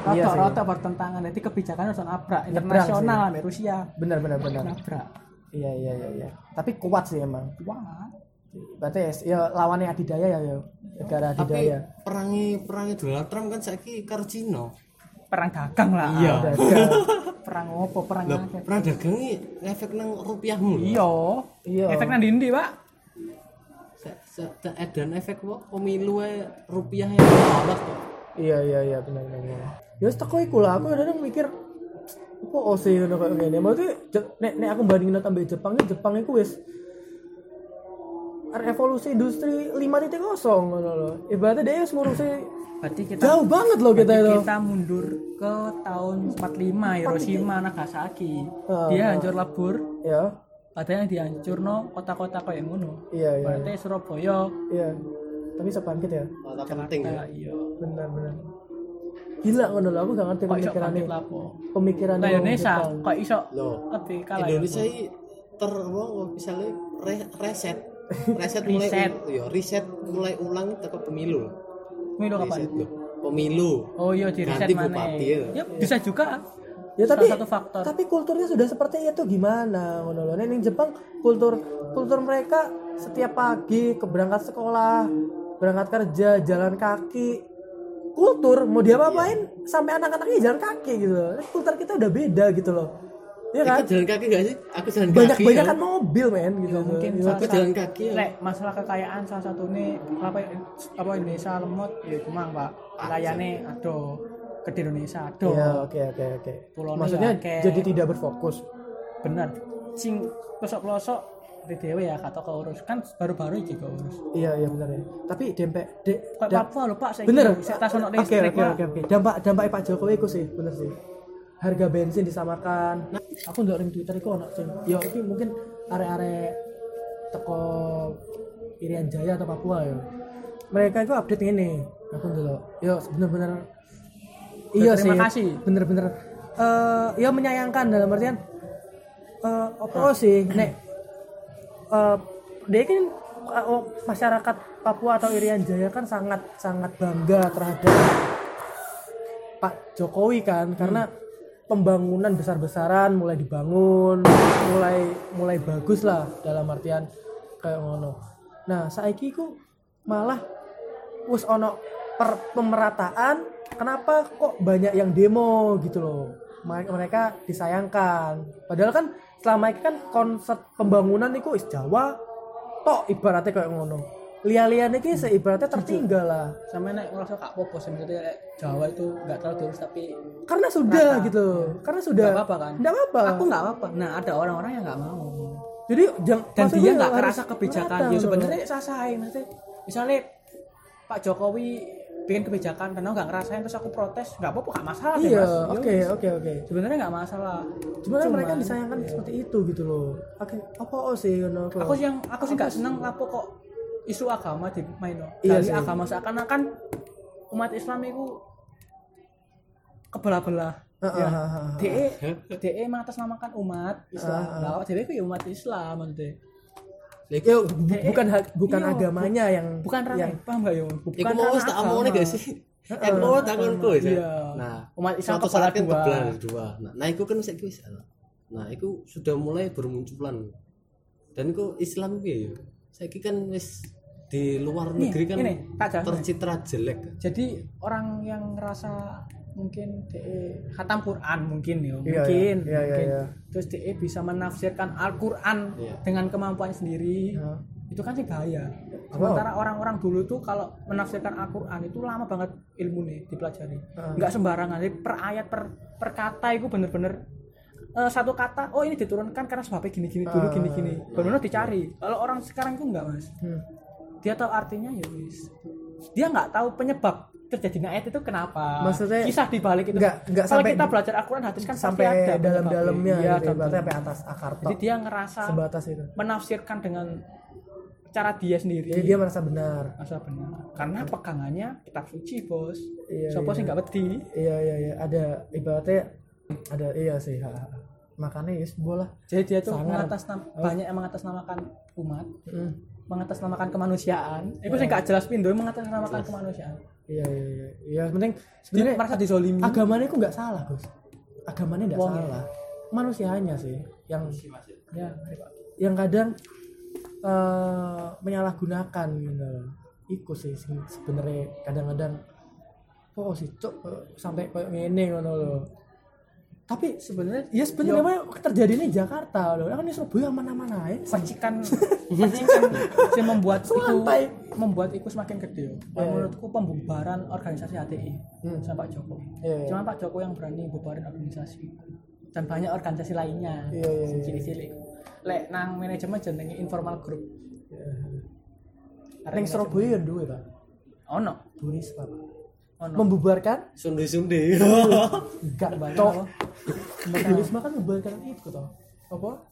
S2: Iya sih.
S1: rata-rata bertentangan jadi kebijakan harus nabrak
S2: Nyebrang
S1: internasional
S2: sih.
S1: ambek Rusia
S2: Benar benar benar.
S1: nabrak
S2: Iya iya iya iya. Tapi kuat sih emang.
S1: wah
S2: Berarti ya lawannya adidaya ya yo. Negara
S4: tapi
S2: adidaya.
S4: perangi perangi Donald Trump kan saiki karo Cina
S1: perang dagang lah
S4: Iya.
S2: Dagang.
S1: perang opo perang
S4: Lah,
S1: akeh.
S4: perang dagang ini efek nang rupiahmu lho.
S1: iya
S2: Iya.
S1: efek nang dindi pak
S4: Sa- sa- sa- edan efek wo pemilu rupiah yang lawak kok.
S2: Iya iya iya benar benar. benar. Ya wis teko iku lah aku kadang mikir apa OC ngono kaya ngene. Maksudnya Je- nek nek aku bandingin tambah Jepang ya Jepang iku wis revolusi industri 5.0 ngono lho. Ibaratnya dia wis ngurusi
S1: berarti kita
S2: jauh banget loh kita itu.
S1: kita mundur ke tahun 45 Hiroshima Nagasaki
S2: Oh.
S1: dia hancur lebur
S2: Ya.
S1: padahal yang dihancurno kota-kota kayak ngono
S2: Iya iya.
S1: berarti Surabaya
S2: Iya. Tapi sebangkit ya.
S4: Kota penting ya.
S1: Nah, iya
S2: Benar benar. Gila ngono lho aku gak ngerti
S1: kok iso
S2: pemikirannya
S1: bangkit lapo
S2: pemikirannya
S1: nah
S2: Kan orang
S1: Indonesia
S2: Jepang.
S1: kok iso
S4: Loh,
S1: lebih kalah ya?
S4: Indonesia ini ter wong misalnya re- reset. Reset mulai
S1: Reset.
S4: ya reset mulai ulang teko pemilu.
S1: Milo kapan
S4: Reset lho. Pemilu.
S1: oh iya di reset
S4: Ganti
S1: mana
S4: bupati ya.
S1: ya bisa juga
S2: ya
S1: Salah
S2: tapi
S1: satu faktor.
S2: tapi kulturnya sudah seperti itu gimana ngono loh Nek ning Jepang kultur kultur mereka setiap pagi keberangkat sekolah berangkat kerja jalan kaki kultur mau dia apain
S1: Iya.
S2: sampai anak-anaknya jalan kaki gitu loh Nek kultur kita udah beda gitu loh ya
S4: Kita
S2: kan
S4: jalan kaki gak sih? Aku jalan
S2: banyak
S4: kaki.
S2: banyak
S4: ya.
S2: kan mobil men gitu loh.
S1: mungkin
S2: Iya.
S1: salah
S4: Aku
S1: satu-
S4: jalan kaki ya.
S1: Lek, masalah kekayaan salah satu ini apa apa Indonesia lemot ya cuma pak layane aduh ke Indonesia aduh
S2: Iya, oke oke oke
S1: Pulau ini
S2: maksudnya
S1: ya, kayak-
S2: jadi tidak berfokus
S1: bener sing pelosok pelosok di dewe ya kata keurus kan baru-baru iki keurus
S2: iya iya benar ya tapi dempet de,
S1: kok
S2: da-
S1: Papua lho pak saya
S2: bener
S1: saya tas ono
S2: oke
S1: listrik
S2: oke
S1: Pak.
S2: oke oke dampak dampak Pak Jokowi itu sih bener sih harga bensin disamakan aku nggak ring Twitter itu ono sing yo iki mungkin arek-arek teko Irian Jaya atau Papua ya mereka itu update ini aku dulu yo bener-bener iya sih
S1: Terima kasih.
S2: bener-bener eh ya menyayangkan dalam artian eh apa sih nek eh dia kan eh, oh, masyarakat Papua atau Irian Jaya kan sangat sangat bangga terhadap Pak Jokowi kan karena pembangunan besar-besaran mulai dibangun mulai mulai bagus lah dalam artian kayak ngono nah saiki ku malah wis ono per- pemerataan kenapa kok banyak yang demo gitu loh Ma- mereka disayangkan padahal kan selama ini kan konsep pembangunan itu is Jawa tok ibaratnya kayak ngono lia-liane iki seibaratnya tertinggal lah
S1: sama nek ngerasa kak popo sih maksudnya lek Jawa itu nggak terlalu terus tapi
S2: karena sudah
S1: Rata. Iya.
S2: gitu karena sudah
S1: Nggak apa-apa kan?
S2: nggak apa-apa
S1: aku nggak apa nah ada orang-orang yang nggak mau
S2: jadi jang-
S1: dan
S2: maksudnya ya
S1: dia nggak
S2: harus
S1: kerasa kebijakan
S2: rata
S1: ya
S2: gitu loh.
S1: sebenarnya sah sah maksudnya misalnya Pak Jokowi bikin kebijakan dan aku nggak ngerasain terus aku protes nggak apa-apa nggak masalah deh,
S2: iya
S1: Mas. Ya
S2: oke oke oke
S1: sebenarnya nggak masalah
S2: cuma kan mereka disayangkan seperti itu gitu loh oke apa sih you know,
S1: Iya. aku sih yang aku sih nggak seneng lapo kok isu agama di maino
S2: Iya
S1: dari
S2: sih.
S1: agama seakan-akan umat Islam itu kebelah-belah
S2: Ah,
S1: ya.
S2: ah, ah, ah, ah.
S1: DE DE mengatasnamakan umat Islam. Lah awak dhewe ku ya umat Islam maksudnya.
S2: Ya, bu- bukan ha- bukan
S1: Iya,
S2: agamanya yang
S1: Bukan rame,
S2: yang
S1: paham nggak ya? Bukan
S4: Iku mau
S1: ranah
S4: wis tak omongin
S1: agama.
S4: gak sih? Aku mau takutku ya.
S1: Iya.
S4: Nah,
S1: Umat Islam
S4: suatu
S1: kepala
S4: saat kan
S1: dua.
S4: terbelah dari dua. Nah, nah iku kan saiki wis ana. Nah, iku sudah mulai bermunculan. Dan iku Islam piye ya? Saiki kan wis di luar
S1: Nih,
S4: negeri kan
S1: ini, tak jelasin.
S4: tercitra jelek.
S1: Jadi orang yang ngerasa mungkin DE khatam Quran mungkin ya,
S2: Iya,
S1: mungkin.
S2: iya, iya,
S1: mungkin.
S2: iya.
S1: Terus DE bisa menafsirkan Al-Qur'an
S4: Iya.
S1: dengan kemampuan sendiri.
S2: Iya.
S1: Itu kan sih bahaya. Sementara orang-orang dulu tuh kalau menafsirkan Al-Qur'an itu lama banget ilmunya dipelajari.
S2: Heeh.
S1: Nggak sembarangan. Jadi per ayat per, per kata itu bener-bener eh, satu kata, oh ini diturunkan karena sebabnya gini-gini dulu,
S2: Ah.
S1: gini-gini. Benar-benar dicari. Kalau orang sekarang itu enggak, Mas
S2: Hmm.
S1: dia tahu artinya ya wis dia nggak tahu penyebab terjadinya ayat itu kenapa
S2: Maksudnya
S1: kisah dibalik itu
S2: nggak- nggak
S1: Gitu. kalau
S2: sampai-
S1: kita belajar Al-Quran hadis kan pasti ada
S2: sampai
S1: penyebabnya.
S2: dalam-dalamnya
S1: Iya,
S2: gitu, berarti
S1: dalam-dalam.
S2: sampai atas akar
S1: jadi
S2: tok,
S1: dia ngerasa
S2: sebatas itu
S1: menafsirkan dengan cara dia sendiri
S2: jadi dia merasa benar
S1: masa benar karena pegangannya kitab suci bos
S2: Iya,
S1: so sih
S2: iya.
S1: nggak peti
S2: iya iya iya ada ibaratnya ada iya sih ha, ha. makanya ya sebuah lah
S1: jadi dia tuh
S2: Sangar. Oh.
S1: mengatasnam- banyak yang mengatasnamakan umat
S2: Hmm.
S1: mengatasnamakan kemanusiaan itu sih nggak jelas pindo mengatasnamakan kemanusiaan
S2: iya iya iya iya yang penting
S1: dia
S2: sebenarnya
S1: merasa dizolimi
S2: agamanya kok nggak salah Gus agamanya nggak
S1: Wong ya.
S2: salah manusianya sih yang
S1: ya mari, Pak.
S2: yang kadang eh, menyalahgunakan gitu loh. Iku sih sing sebenarnya kadang-kadang oh sih cok eh, sampai kayak ngene ngono loh. Tapi sebenarnya ya sebenarnya mah terjadi di Jakarta loh. Kan di Surabaya mana-mana aja.
S1: percikan percikan sih membuat iku
S2: Lantai.
S1: membuat iku semakin gede yo.
S2: Iya, iya.
S1: menurutku pembubaran organisasi HTI
S2: Hmm.
S1: sama Pak Joko
S2: Iya, iya.
S1: cuma Pak Joko yang berani bubarin organisasi dan banyak organisasi lainnya
S2: Iya, iya, iya.
S1: cilik-cilik lek nang manajemen jenenge informal group
S2: Ning Surabaya ya duwe, Pak.
S1: ono
S2: Buris, Pak.
S1: ono
S2: Membubarkan?
S4: Sunde-sunde. Oh,
S2: Enggak, Mbak.
S1: Cok.
S2: Cok. Burisma kan membubarkan itu toh. Apa?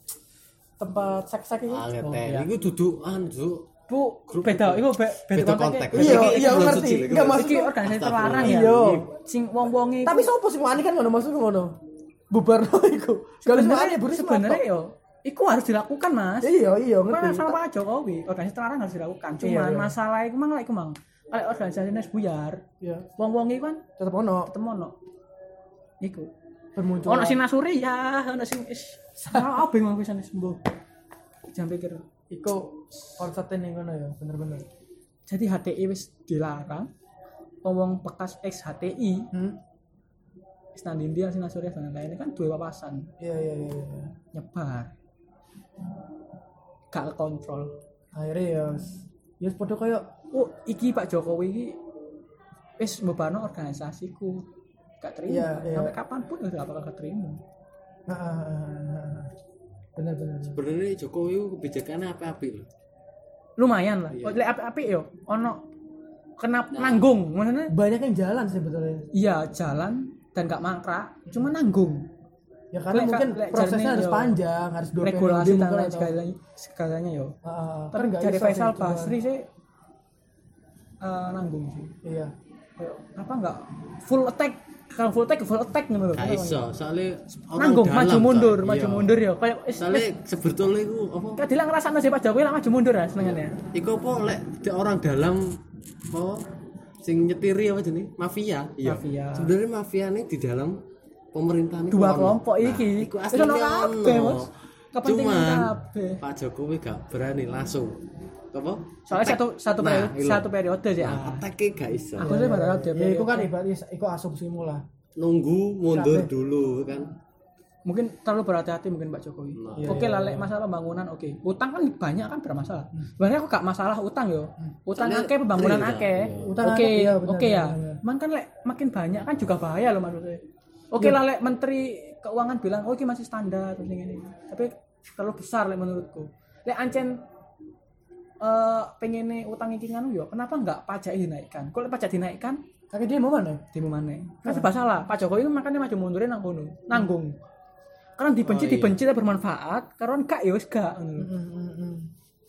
S2: Tempat
S1: Oh,
S2: sek-sek itu. Oh.
S4: Ah, ngeten. Iku dudukan, Duk.
S1: bu beda iku be, beda,
S4: Beda
S1: konteks
S4: kontak.
S2: Iya,
S4: Iki- iki
S2: iya,
S4: bulan
S2: ngerti.
S4: suci lho, iki
S2: Nggak
S4: bulan
S2: masuk.
S1: iki organisasi terlarang ya
S2: Iya.
S1: sing wong-wonge
S2: Tapi sopo sih wani kan ngono maksudku ngono. Bubarno iku. Gak usah
S1: sebenarnya
S2: ada Burisma.
S1: sebenarnya yo iku harus dilakukan mas
S2: Iya, iya,
S1: Mana
S2: ngerti.
S1: sama Pak Jokowi, organisasi terlarang harus dilakukan.
S2: Iya,
S1: Cuman
S2: iya.
S1: masalah iku mang lek iku mang. Kalau organisasi ini buyar,
S2: Iya.
S1: wong-wong iku kan
S2: Tetep ono
S1: ketemu ono. Iku.
S2: bermunculan.
S1: Ono sing nasuri ya, ono sing is. Ora obeng wong pisan wis mbuh. Jangan pikir.
S2: iku konsepnya ning ngono ya, bener-bener.
S1: Jadi HTI wis dilarang. Wong bekas ex HTI,
S2: Hmm.
S1: wis nandin dia sing nasuri dan lain-lain kan dua wawasan
S2: Iya, iya, iya. iya.
S1: nyebar. Gak kontrol.
S2: Akhirnya ya s- ya padha koyo
S1: oh iki Pak Jokowi iki wis mbebano organisasiku gak terima
S2: Iya, iya.
S1: sampai kapanpun udah bakal keterima
S2: heeh. Bener-bener.
S4: Sebenarnya Jokowi itu kebijakannya apa-apa lho.
S1: lumayan lah
S2: Iya.
S1: kalau lek apik-apik yo ono kena
S2: Nah.
S1: nanggung maksudnya
S2: Banyak yang jalan sebetulnya.
S1: iya jalan dan gak mangkrak cuma nanggung
S2: Ya karena
S1: Lek-
S2: mungkin
S1: lek
S2: prosesnya
S1: jarene
S2: harus
S1: yo.
S2: panjang, harus dua
S1: regulasi
S2: periode
S1: dan
S2: mungkin
S1: lain
S2: atau-
S1: segalanya segalanya yo
S2: Heeh. Kan
S1: tapi
S2: nggak
S1: dari
S2: iso sih
S1: Faisal
S2: itu kan.
S1: Basri sih eh, nanggung sih
S2: Iya.
S1: Kayak, apa nggak full attack kalau full attack full attack gitu loh
S4: Gak iso, soalnya orang
S1: nanggung
S4: Nah, Oh, dalam,
S1: maju mundur
S4: Pak.
S1: maju
S4: Iya.
S1: mundur yo kayak is-
S4: Soalnya sebetulnya itu apa?
S1: Kak Dila ngerasa nasi Pak Jokowi lah maju mundur ya senengannya.
S4: Iku apa lek di orang dalam apa sing nyetiri apa jenis mafia.
S1: Mafia.
S4: Sebenarnya mafia ini di dalam pemerintahan iku
S1: Dua
S4: ono.
S1: kelompok iki.
S4: Iya. Nah, iku
S1: Wis
S4: aslinya
S1: ono kabeh,
S4: ono.
S1: Mas. Kepentingan
S4: Cuman,
S1: kabeh.
S4: Pak Jokowi gak berani langsung. Apa?
S1: Soalnya satu satu
S4: Nah,
S1: periode,
S4: iya.
S1: satu periode sih. ah.
S4: Attack gak iso.
S1: Aku sih pada dia
S2: Ya
S1: periode.
S2: iku kan ibaratnya iku asumsimu lah.
S4: Nunggu mundur
S2: Kabeh.
S4: dulu kan.
S1: mungkin terlalu berhati-hati mungkin Pak Jokowi.
S4: Nah.
S2: iya,
S1: Oke lah lek masalah pembangunan oke. Utang kan banyak kan bermasalah.
S2: Hmm.
S1: Sebenarnya aku gak masalah utang yo. Utang
S4: Soalnya
S1: akeh pembangunan
S4: real,
S1: akeh.
S4: iya.
S2: Utang
S1: Oke,
S2: akeh, iya, bener,
S1: oke ya.
S2: bener, bener.
S1: Cuman kan lek makin banyak kan juga bahaya loh maksudnya.
S2: Iya.
S1: Oke lah lek menteri keuangan bilang oh iki masih standar terus ini. Tapi terlalu besar lek menurutku. Lek ancen eh pengen utang iki nganu yo, kenapa nggak pajak dinaikkan? Kalau pajak dinaikkan,
S2: Tapi dia mau mana?
S1: demo mana? Kasih masalah. Kan Pak Jokowi itu makanya maju mundurnya nang kono, nanggung. Karena dibenci
S4: Oh, iya.
S1: dibenci tapi bermanfaat, karena gak ya wis gak.
S2: Mm,
S1: ngono.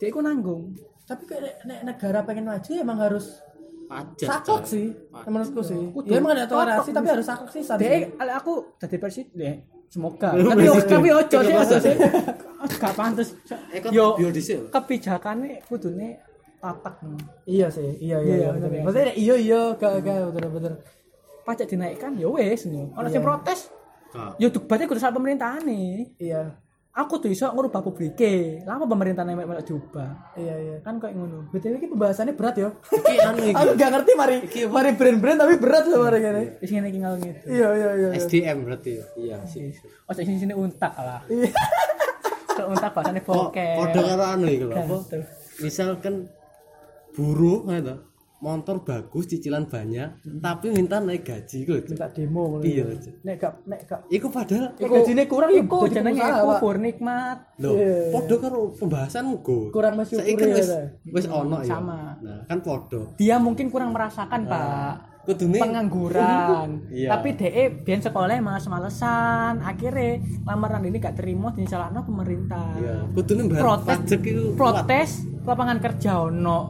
S1: Dia iku nanggung.
S2: Tapi kayak nek- nek negara pengen maju emang harus
S4: pajak
S2: sakok
S4: Cak.
S2: sih,
S4: Pak.
S2: menurutku sih.
S1: Kudu.
S2: Ya emang ada toleransi
S1: Cocok,
S2: tapi harus sakok sih
S1: Dia
S2: sampai.
S1: kalau aku jadi presiden, semoga. Tapi tapi ojo sih ojo sih. Gak pantas.
S4: eh kok
S1: Yo
S4: biodiesel
S1: kebijakannya kudune tatak. ngono.
S2: Iya sih,
S1: Iya,
S2: iya iya. iya,
S1: bener,
S2: bener.
S1: iya.
S2: Maksudnya iya iya, gak gak bener bener.
S1: Pajak dinaikkan ya wis ngono. Ono sing
S2: Iya.
S1: protes,
S4: Kak,
S1: ya debatnya kudu sama pemerintahan nih.
S2: Iya,
S1: Aku tuh iso ngubah publike. Lama pemerintahan yang melok diubah.
S2: iya iya.
S1: Kan kayak ngono.
S2: BTW ini pembahasannya berat ya.
S4: iki anu iki Iya,
S2: Aku gak ngerti mari mari brand-brand tapi berat loh mari kene.
S1: Wis ngene iki ngalung gitu.
S2: Iya iya iya. iya.
S4: SDM berarti ya? iya sih
S1: Oh, sini sini untak lah.
S2: Iya. Oh,
S1: Kalau untak bahasanya
S4: kok
S1: bokeh.
S4: kode karo anu iki lho apa
S1: Gantung.
S4: misalkan buruh gitu motor bagus cicilan banyak tapi minta naik gaji kok
S2: Minta demo ngono.
S4: iya Cuk.
S2: Nek gak nek gak
S4: iku padahal
S2: Nek gajinya kurang ya
S1: Iku
S2: jadi
S1: jenenge
S2: pengusaha, Pak.
S1: kubur nikmat.
S4: lho
S2: Iya.
S4: podo karo pembahasan go
S2: Kurang mensyukuri,
S4: Saiki kan wis
S2: ya,
S4: wis ono ya
S1: Sama.
S4: nah kan podo
S1: Dia mungkin kurang merasakan,
S2: Ah.
S1: Pak.
S4: kudune
S1: pengangguran
S4: Iya.
S1: tapi eh, DE biar sekolahnya males-malesan akhirnya lamaran ini gak terima disalahkan pemerintah
S4: iya kudune mbayar
S1: protes
S4: pajak iku kuat.
S1: protes lapangan kerja ono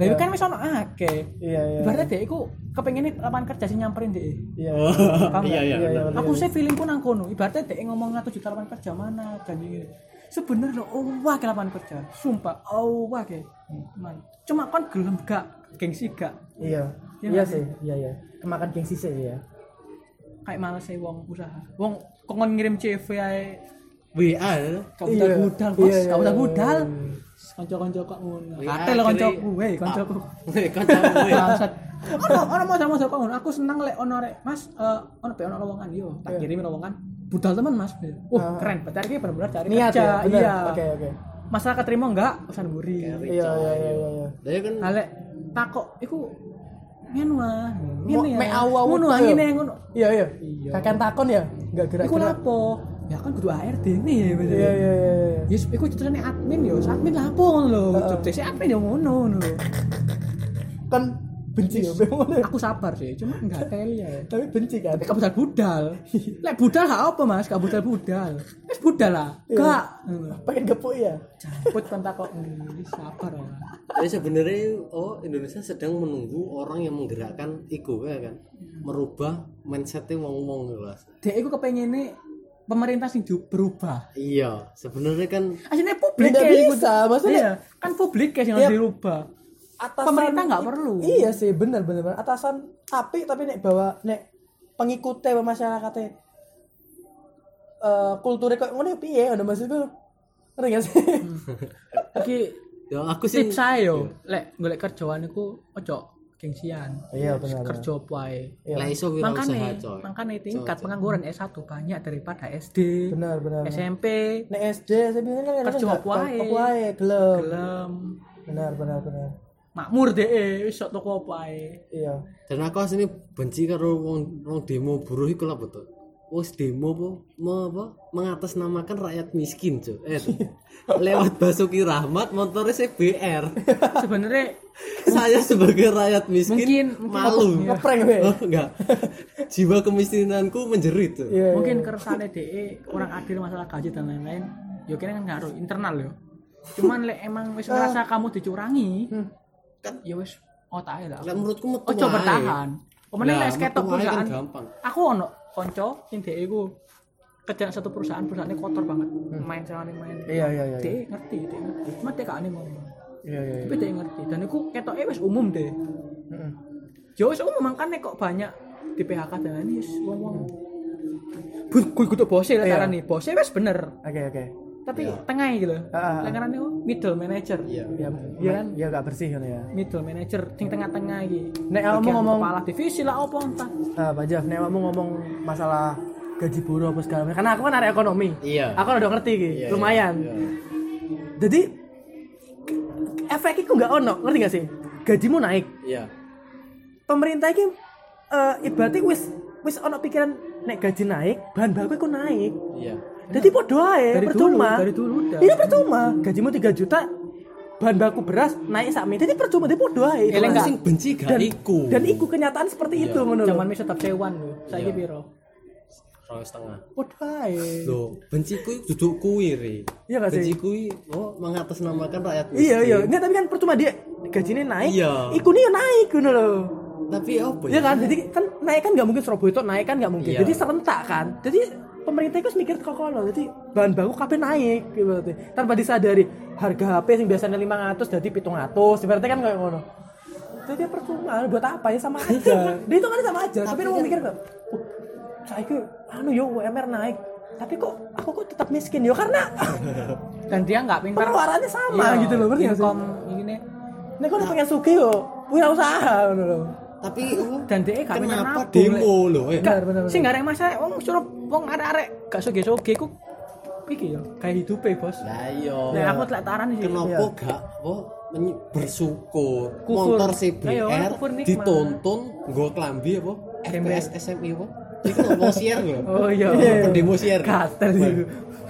S1: Lah
S2: Iya.
S1: kan wis ono akeh
S2: Iya iya.
S1: berarti DE ku kepengen lapangan kerja sih nyamperin DE
S2: Iya.
S4: Oh,
S1: Paham
S4: iya
S1: nggak?
S4: iya
S2: Iya,
S4: bener.
S2: iya.
S1: aku sih feeling pun nang kono ibaratnya dek ngomong ngatu juta lapangan kerja mana janji gini sebenarnya oh wah ke lapangan kerja sumpah oh wah ke Man. cuma kan gelem gak gengsi gak
S2: Iya.
S1: Iya,
S2: Iya
S1: Mas.
S2: sih, iya iya. Kemakan gengsi sih ya.
S1: kayak males sih wong usaha wong kongon ngirim CV ae
S4: WA
S1: kau budal
S2: Iya.
S1: budal bos
S2: Iya, iya,
S1: kau budal
S2: iya,
S1: budal
S2: iya, iya.
S1: konco konco kok ngono
S4: Iya,
S1: kate lo
S4: akhirnya-
S1: koncoku weh koncoku
S4: Weh, kancamu, weh.
S1: bangsat ono ono mau sama kok ngono aku seneng lek ono rek mas eh, ono pe ono lowongan yo tak
S2: Iya.
S1: kirimin lowongan budal teman mas wah
S2: Ah.
S1: keren berarti iki bener-bener cari
S2: Niat
S1: kerja
S2: ya, bener.
S1: iya
S2: Oke oke.
S1: masyarakat terima enggak urusan buri
S2: Iya iya iya iya.
S4: Lah kan
S1: lek takok iku ngene wae
S2: Mau-
S1: ngene
S2: mek awak
S1: ngono wae
S2: wutu
S1: ngene
S2: ya.
S1: ngono
S2: Iya iya.
S1: Iya.
S2: Kakan takon ya, nggak gerak.
S1: iku lapo ya kan kudu ARD nih ya berarti.
S2: Iya iya iya. iya.
S1: Yes, iku ceritane admin yo, admin lah apa ngono lho.
S2: Heeh.
S1: Job desk admin yo ngono ngono lho.
S2: Kan benci ya, bener.
S1: Aku sabar sih, cuma enggak teli ya.
S2: Tapi benci kan.
S1: Lek budal budal.
S2: Iya.
S1: Lek budal gak apa Mas, gak budal budal. Wis budal lah.
S2: Iya.
S1: Gak.
S2: Pengen gepuk ya.
S1: Jambut kan tak kok ngene, sabar ora.
S4: Ya sebenarnya oh Indonesia sedang menunggu orang yang menggerakkan ego ya kan.
S1: Iya.
S4: Merubah mindsetnya wong-wong ya, Mas.
S1: Dek iku kepengine pemerintah sing di- berubah.
S4: Iya, sebenarnya kan
S1: Aslinya publik
S2: Tidak
S1: kayak
S2: bisa,
S1: gitu.
S2: maksudnya-
S1: Iya, kan publik kayak yang
S2: Iya.
S1: harus dirubah.
S2: Atasan
S1: Pemerintah nggak perlu.
S2: Iya sih, bener bener bener. Atasan tapi tapi nek bawa nek pengikutnya sama masyarakatnya eh kulturnya kok ngono ya piye ngono maksudku. Ngerti gak sih?
S1: Iki
S4: ya aku sih
S1: tips saya
S2: Iya.
S1: yo, lek golek kerjaan iku ojo gengsian.
S2: Iya, benar, benar.
S1: Kerja apa ae.
S2: Iya.
S4: lah ya, iya. iso
S1: makanya
S4: wirausaha coy.
S1: makanya tingkat pengangguran S1 banyak daripada SD
S2: Bener bener.
S1: SMP
S2: Nek SD saya biasanya kan kadang-kadang
S1: Kerja
S2: nggak-
S1: wae.
S2: nggak wae, gelem.
S1: gelem
S2: Benar benar benar.
S1: makmur deh wis sok toko apa ae
S2: Iya.
S4: Dan aku aslinya benci karo wong wong demo buruh iku lah betul. Wes demo apa mau apa mengatasnamakan rakyat miskin cuy. Eh, lewat Basuki Rahmat motornya CBR.
S1: sebenarnya
S4: Saya sebagai rakyat
S1: Mungkin-
S4: miskin
S1: mungkin
S4: malu.
S1: apa-
S2: Ngeprank we.
S4: Oh, enggak. Jiwa kemiskinanku menjerit tuh.
S2: Iya.
S1: mungkin keresahannya DE kurang adil masalah gaji dan lain-lain yo kira kan ngaruh internal yo cuman lek emang wis
S2: Ah.
S1: ngerasa kamu dicurangi
S4: Kan-
S1: ya wis otak ae lah
S4: Lah menurutku metu
S1: ojo
S4: wae.
S1: Oh, bertahan Pemenang
S4: Lah,
S1: les ketok
S4: metu wae kan
S1: perusahaan
S4: gampang.
S1: aku ono konco sing DE ku kerja nang satu perusahaan perusahaannya kotor banget main sama main
S2: Hmm. Iya iya iya.
S1: Dek ngerti, dek ngerti. Cuma dek gak aneh ngomong.
S2: Iya iya.
S1: Tapi dek ngerti. Dan aku ketoknya wis umum deh.
S2: Heeh.
S1: Ya wis umum makanya kok banyak di PHK dan lain wis wong-wong. Bu, gue kudu bose lah
S2: Iya.
S1: cara nih. Bose wis bener.
S2: Oke oke.
S1: Tapi tengah gitu loh.
S2: Ah, ah, ah.
S1: Lengarannya oh, middle manager.
S4: Iya.
S2: Ya,
S1: Iya
S2: ya
S1: kan?
S2: Ya gak bersih kan ya.
S1: Middle manager sing tengah-tengah iki.
S2: Nek
S1: Bagian
S2: kamu ngomong
S1: kepala divisi lah opo entah.
S2: Ah, Pak Jeff, nek kamu ngomong masalah gaji buruh apa segala macam. Karena aku kan area ekonomi.
S4: Iya.
S2: Aku udah ngerti iki,
S4: Iya,
S2: lumayan.
S4: iya.
S2: Jadi efeknya kok nggak ono, ngerti gak sih? Gajimu naik.
S4: Iya.
S2: Pemerintah ini eh ibaratnya wis wis ono pikiran nek gaji naik, bahan baku iku naik.
S4: Iya.
S2: Jadi podo ae,
S1: Dari dulu,
S2: percuma.
S1: dari dulu udah.
S2: Iya percuma. Gajimu 3 juta, bahan baku beras naik sakmi jadi percuma dia bodoh ae
S1: Eleng,
S4: Orang
S1: Kak.
S4: sing benci gak
S2: dan
S4: iku.
S2: dan iku kenyataan seperti itu menurut
S1: Iya, Zaman wis tetap sewan lho. Saiki
S4: Iya.
S1: piro?
S4: Orang setengah.
S2: bodoh ae
S4: Loh, benci kuwi duduk kuwi, Ri.
S2: Iya gak sih?
S4: Benci kuwi oh mengatasnamakan rakyat miskin.
S2: iya iya ini tapi kan percuma dia gajinya naik
S4: Iya.
S2: ikunya naik gitu loh
S4: Tapi apa ya?
S2: Iya kan, jadi kan naik kan nggak mungkin Surabaya itu naik kan nggak mungkin.
S4: Iya.
S2: Jadi serentak kan. Jadi pemerintah itu harus mikir kok loh. Jadi bahan baku kabeh naik gitu berarti. Tanpa disadari harga HP yang biasanya 500 jadi 700. Berarti kan kayak ngono. Jadi dia percuma buat apa ya sama aja. Dia itu kan sama aja. Tapi, dia mau mikir kok. "Oh, Saya itu anu yo UMR naik. Tapi kok aku kok tetap miskin yo karena
S1: Dan dia nggak pintar.
S2: pengeluarannya sama gitu loh. Berarti
S1: Income ini
S2: Nek kok pengen sugih yo punya usaha ngono loh.
S4: Tapi oh,
S1: dan dia gak punya
S4: kenapa
S1: nabung,
S4: demo loh? Eh,
S1: Gak,
S2: Benar, benar,
S1: sing gak ada yang masalah, wong suruh wong arek-arek gak soge-soge ku iki yo, kayak hidupe, Bos.
S4: lah iya.
S1: Nah, aku telat taran sih.
S4: Kenapa gak oh, menyi- bersyukur
S1: Kufur.
S4: motor
S1: Ayo,
S4: CBR
S1: kufur nikmat.
S4: ditonton nggo klambi apa?
S1: Ember.
S4: FPS SMI apa? Iku mau share lho.
S1: Oh iya.
S4: Pendemo share.
S1: Gatel itu.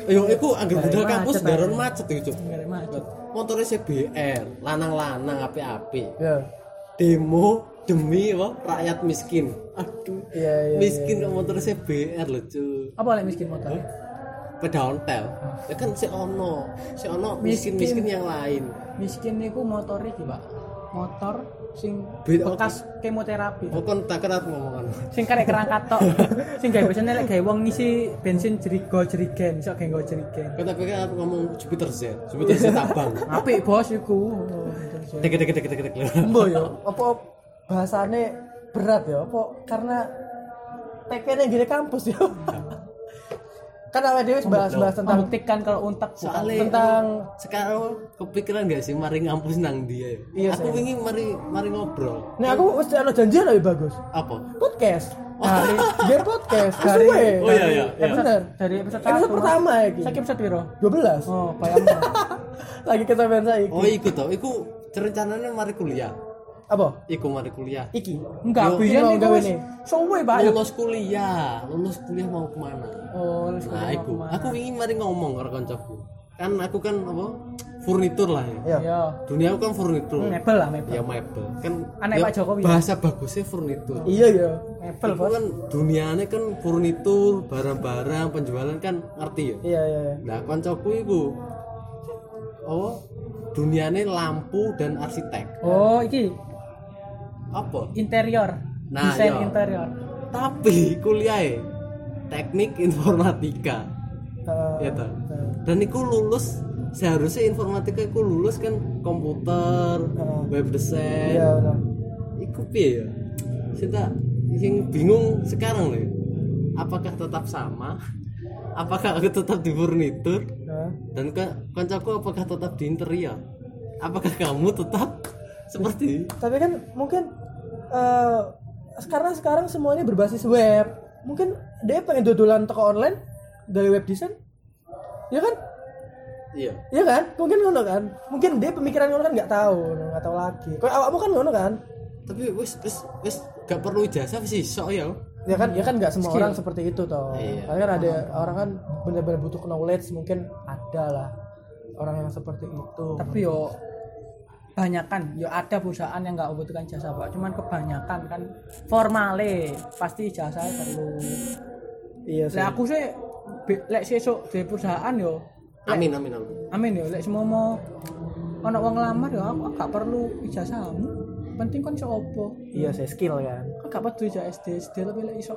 S4: Yo iku anggere
S1: Dari
S4: budal kampus
S1: macet,
S4: daron macet iku, Cuk.
S1: Gak ada macet.
S4: Motornya CBR, lanang-lanang api-api.
S2: Iya.
S4: Demo demi apa? Rakyat miskin. Aduh.
S2: Iya iya.
S4: Miskin kok motor CBR lho, Cuk.
S1: Apa lek miskin motor?
S4: Pedang ontel. Ya kan si ono, si ono miskin-miskin yang lain.
S1: Miskin niku motor iki, Pak. Motor sing
S4: Duit
S1: bekas kemoterapi.
S4: Bukan tak kena aku ngomongan.
S1: sing karek kerangka tok sing gawe biasane lek gawe wong ngisi bensin jerigo jerigen iso gawe nggo jerigen
S4: Kata pikir aku ngomong Jupiter Z, Jupiter Z abang.
S1: apik bos iku Oh,
S4: Dek dek dek dek dek.
S2: Embo yo, apa bahasane berat ya? Apa karena TK-nya gini kampus ya? kan awal dewe bahas-bahas tentang
S1: membuktikan kalau untak bukan
S4: Soalnya
S2: Tentang-
S4: sekarang kepikiran gak sih mari ngampus nang dia.
S2: Iya,
S4: aku ingin mari mari ngobrol.
S2: Nih aku mesti ada janjian lebih bagus.
S4: Apa?
S2: Podcast. Hari, dia podcast. Hari.
S4: Oh iya
S2: Ya
S4: iya. iya.
S2: bener.
S1: dari episode
S2: Episode
S1: satu,
S2: pertama ya
S1: Mas.
S2: gini.
S1: saiki episode piro
S2: 12.
S1: oh bayangno
S2: Lagi kesampean saya.
S4: Oh iku tau, iku rencananya mari kuliah.
S2: Apa?
S4: Iku mari kuliah.
S2: Iki.
S1: enggak
S4: Yo,
S1: biyen
S2: mau
S1: niku
S2: gawe
S1: wis
S2: nih.
S1: suwe Pak.
S4: Lulus kuliah, lulus kuliah mau kemana?
S1: oh lulus
S4: Nah,
S1: kuliah
S4: iku.
S1: mau kemana?
S4: Aku ingin mari ngomong karo kancaku. Kan aku kan apa? Furnitur lah ya.
S2: Iya.
S1: iya
S4: Dunia aku kan furnitur.
S1: mebel lah mebel
S4: Ya mebel. Kan
S1: Anak
S4: ya,
S1: Pak Jokowi.
S4: Bahasa bagusnya furnitur.
S2: Iya iya.
S1: mebel
S4: Itu
S1: bos
S4: kan dunianya kan furnitur, barang-barang, penjualan kan ngerti ya.
S2: Iya iya. iya.
S4: Nah, kancaku iku oh dunianya lampu dan arsitek.
S1: oh iki
S4: Apa?
S1: interior
S4: Nah,
S1: desain
S4: iya.
S1: interior
S4: Tapi kuliah e, teknik informatika.
S2: Eh,
S4: Ya toh. Dan iku lulus seharusnya informatika iku lulus kan komputer,
S2: Heeh.
S4: web design,
S2: Iya bener.
S4: Iku piye ya? Kita yang bingung sekarang loh. Apakah tetap sama? Apakah aku tetap di furnitur?
S2: Hah?
S4: Dan ke kancaku apakah tetap di interior? Apakah kamu tetap seperti
S2: tapi kan mungkin eh sekarang sekarang semuanya berbasis web mungkin dia pengen dodolan toko online dari web design ya kan
S4: iya
S2: ya kan mungkin ngono kan mungkin dia pemikiran ngono kan nggak tahu nggak tahu lagi kayak awakmu kan ngono kan
S4: tapi wis wis wis gak perlu ijazah sih sok ya
S2: ya kan ya kan nggak semua orang seperti itu toh
S4: Iya.
S2: Karena kan ada orang kan benar-benar butuh knowledge mungkin ada lah orang yang seperti itu
S1: tapi yo banyakan yo ada perusahaan yang nggak membutuhkan jasa pak cuman kebanyakan kan formale pasti jasa perlu
S2: iya sih
S1: lek aku sih be- lek sesuk di perusahaan yo
S4: amin amin amin
S1: amin yo lek semua mau ono wong lamar yo aku gak perlu ijazahmu penting kon iso opo
S2: iya sih skill kan
S1: aku gak perlu ijazah SD SD tapi lek iso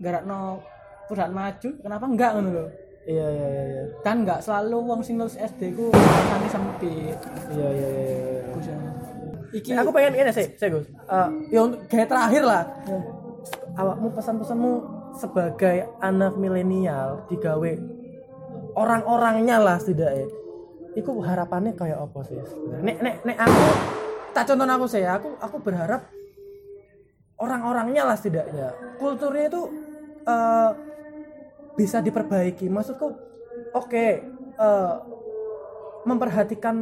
S1: garakno perusahaan maju kenapa enggak ngono lho
S2: iya iya iya iya
S1: kan enggak selalu wong sing lulus SD ku rasane sempit ya.
S2: iya iya, iya, iya.
S1: Aku sih.
S2: Iki aku pengen ini sih, saya Gus. Eh, ya untuk gaya terakhir lah. Awakmu pesan-pesanmu sebagai anak milenial digawe orang-orangnya lah setidaknya. Iku harapannya kayak apa sih? sebenarnya? Nek nek nek aku tak contoh aku sih, aku aku berharap orang-orangnya lah setidaknya. Kulturnya itu eh, bisa diperbaiki. Maksudku, oke, eh, memperhatikan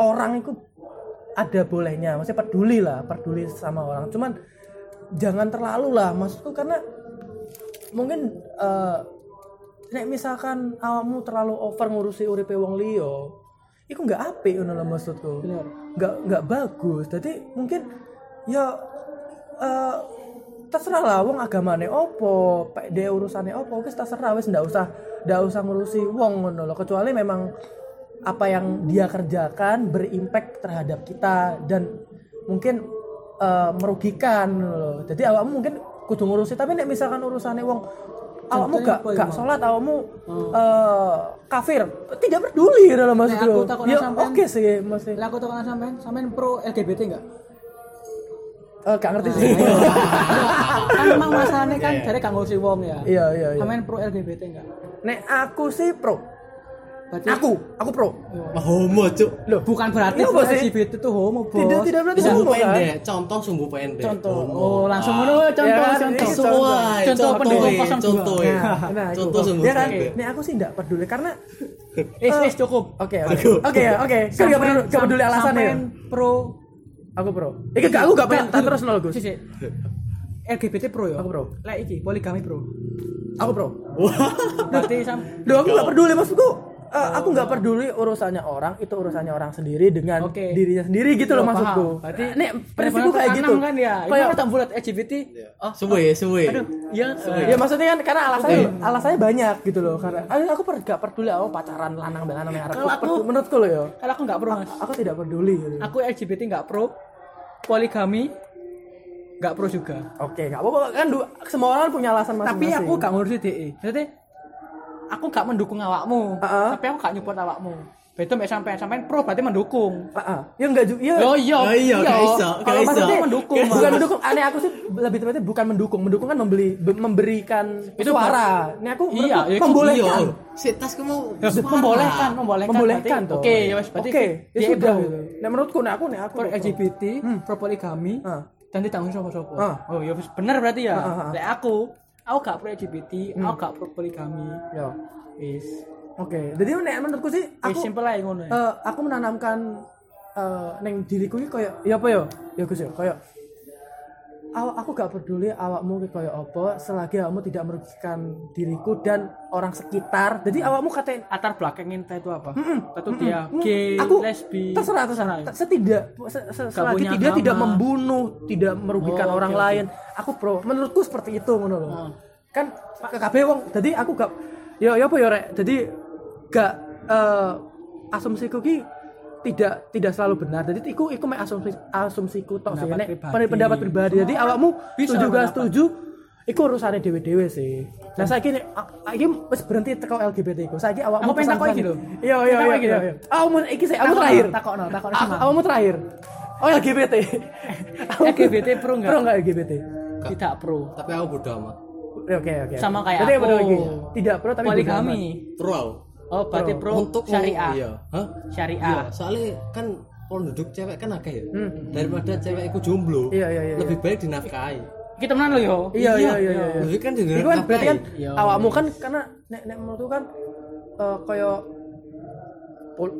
S2: orang itu ada bolehnya maksudnya peduli lah peduli sama orang cuman jangan terlalu lah maksudku karena mungkin eh nek misalkan awakmu terlalu over ngurusi uripe wong liya iku nggak apik ngono lho maksudku
S1: Bener.
S2: nggak nggak bagus jadi mungkin ya eh terserah lah wong agamane opo pek dia urusane opo wis terserah wis ndak usah ndak usah ngurusi wong ngono lho kecuali memang apa yang dia kerjakan berimpact terhadap kita dan mungkin eh, merugikan ngono lho jadi awakmu mungkin kudu ngurusi tapi nek misalkan urusane wong awakmu
S1: Contohnya
S2: gak
S1: apa Oh. ya,
S2: gak
S1: Bang?
S2: sholat awakmu eh, kafir tidak peduli dalam
S1: aku
S2: maksudku
S1: takutnya
S2: ya
S1: sampean-
S2: oke sih maksudnya
S1: Lah aku tau kan sampean, sampean pro LGBT enggak?
S2: Eh, gak ngerti sih.
S1: kan memang masalahnya kan dari kang ngurusi wong ya.
S2: Iya, iya, iya.
S1: Sampean pro LGBT enggak?
S2: Nek aku sih pro.
S1: Berarti
S2: Aku, aku pro.
S1: Iya.
S4: Mah homo cuk.
S1: bukan berarti
S2: Ini Iya apa
S1: pro
S2: sih?
S1: LGBT itu homo, Bos.
S2: Tidak, tidak berarti
S4: Sumbu
S2: homo kan?
S4: pendek, contoh sumbu pendek.
S1: Contoh.
S4: Homo.
S1: Oh, langsung
S4: Ah.
S1: ngono contoh,
S2: Ya kan,
S1: contoh.
S2: ini
S4: Contoh, wai.
S1: Contoh pendukung 02.
S4: contoh, eh.
S1: Iya.
S2: Nah, itu.
S4: contoh sumbu
S2: Ya kan?
S4: pendek.
S2: Nek aku sih enggak peduli karena
S1: Eh, eh, cukup.
S2: oke, oke. Oke ya, oke. Kan enggak peduli, nggak peduli alasan ya.
S1: Sampean pro
S2: Aku pro.
S1: Iya,
S2: Iki gak aku gak pengen tak
S1: Nggak,
S2: terus nol Gus.
S1: sih, sih. LGBT pro ya?
S2: Aku pro.
S1: Lah iki poligami pro.
S2: Aku pro.
S1: Berarti sam
S2: Loh, aku gak peduli maksudku. eh, aku nggak peduli urusannya orang itu urusannya orang sendiri dengan
S1: Oke. Iya,
S2: dirinya sendiri gitu loh
S1: Paham.
S2: maksudku.
S1: Berarti
S2: nek prinsipku
S1: prevalensi
S2: kayak gitu.
S1: tanam kan ya. Kayak
S2: Kayak
S1: orang bulat LGBT. Oh,
S4: Sumbu ya, sumbu ya.
S1: aduh, iya. eh,
S2: Ya maksudnya kan karena alasannya alasannya banyak gitu loh karena aduh, aku per, gak peduli aku pacaran lanang dengan lanang merah.
S1: Kalau
S2: Aku,
S1: aku-
S2: menurutku loh ya.
S1: Kalau aku nggak pro mas,
S2: Aku tidak peduli. Gitu.
S1: aku LGBT nggak pro, poligami nggak pro juga.
S2: Oke, nggak apa-apa kan du- semua orang punya alasan
S1: Tapi
S2: masing-masing.
S1: aku nggak ngurusi DE. Jadi aku nggak mendukung awakmu,
S2: Heeh.
S1: tapi aku nggak nyupport awakmu. Betul, mek sampean sampean pro berarti mendukung.
S2: Ah, ah. ya enggak juga. Ya,
S1: Yo yo,
S4: Oh, iya, nggak iso, nggak
S1: Kalau
S4: iso.
S1: maksudnya mendukung, Mas.
S2: bukan mendukung. Aneh aku sih lebih tepatnya bukan mendukung. Mendukung kan membeli be- memberikan
S1: Itu
S2: suara. Ini aku
S1: Iya,
S2: menurutku
S1: ya itu
S2: membolehkan.
S4: Iya, si tas ku mau
S1: Ya, membolehkan,
S4: suara.
S1: membolehkan,
S2: Ah, Membolehkan
S1: berarti-
S2: tuh.
S1: Oke, ya wes berarti
S2: Oke, ya
S1: DE
S2: sudah.
S1: pro.
S2: gitu. Nah menurutku, nah aku, nah aku.
S1: pro LGBT, pro poligami,
S2: Ah.
S1: dan ditanggung sopo-sopo.
S2: Ah.
S1: Oh ya wis bener berarti ya.
S2: Ah, ah, Hmm. ah.
S1: Lek aku, aku gak pro LGBT, aku gak pro poligami.
S2: Ya.
S1: Wis.
S2: Oke, jadi nek menurutku sih
S1: Wis
S2: aku
S1: simpel ae ngono. ya.
S2: Eh, aku menanamkan eh, neng diriku ini kayak ya apa ya ya Gus ya kayak awak aku gak peduli awakmu ki kayak apa selagi awakmu tidak merugikan diriku dan orang sekitar jadi awakmu katain
S1: Latar belakang ente itu apa?
S2: Hmm,
S1: Tentu
S2: "Mm-mm,
S1: dia
S2: mm,
S1: gay,
S2: aku
S1: lesbi.
S2: terserah terserah
S1: ya.
S2: setidak se- se- selagi
S1: punya
S2: tidak
S1: agama.
S2: tidak membunuh tidak merugikan
S1: Oh,
S2: orang
S1: oke, oke.
S2: lain aku pro menurutku seperti itu ngono loh
S1: Hmm.
S2: kan ke KB wong jadi aku gak ya ya apa ya rek jadi gak eh, asumsiku ki tidak tidak selalu benar jadi iku iku mek asumsi asumsiku tok sih
S1: Pendapat
S2: nek
S1: pribadi.
S2: pendapat pribadi jadi awakmu
S1: Bisa
S2: setuju gak
S1: pendapat. Hmm.
S2: setuju iku urusannya dewe-dewe sih nah saya kini ini wis berhenti teko LGBT ku saya awakmu
S1: Aku pengen takok
S2: pesan-pesan-
S1: iki lho.
S2: iya iya
S1: Pengen takok
S2: iya
S1: iki
S2: iya
S1: lho.
S2: iya. Oh, mau iki sih, kamu
S1: Takokno,
S2: terakhir.
S1: takokno, takokno
S2: Ah,
S1: semua.
S2: Kamu terakhir. Oh, LGBT. Ya,
S1: LGBT pro nggak?
S2: Pro enggak LGBT?
S1: Tidak pro.
S4: Tapi aku bodo amat.
S2: Ya, Oke, oke.
S1: Sama
S2: oke.
S1: kayak
S2: Jadi
S1: aku.
S2: yang benar lagi. Tidak pro tapi
S1: poligami.
S4: Pro aku.
S1: Oh, berarti
S2: Pro.
S1: pro
S4: Untuk
S1: syariah.
S4: Iya. Hah? Iya,
S1: Syariah.
S4: soalnya kan penduduk cewek kan agak ya. Daripada cewek iku jomblo.
S2: Hmm. Iya, iya, iya,
S4: Lebih baik dinafkahi.
S1: Kita menang lo yo.
S2: beragama. Iya, iya, iya, iya.
S4: Lebih kan
S2: Iku kan berarti kan
S4: dinafkahi.
S1: Iya.
S2: awakmu kan karena nek nek menurutku kan eh kayak pol-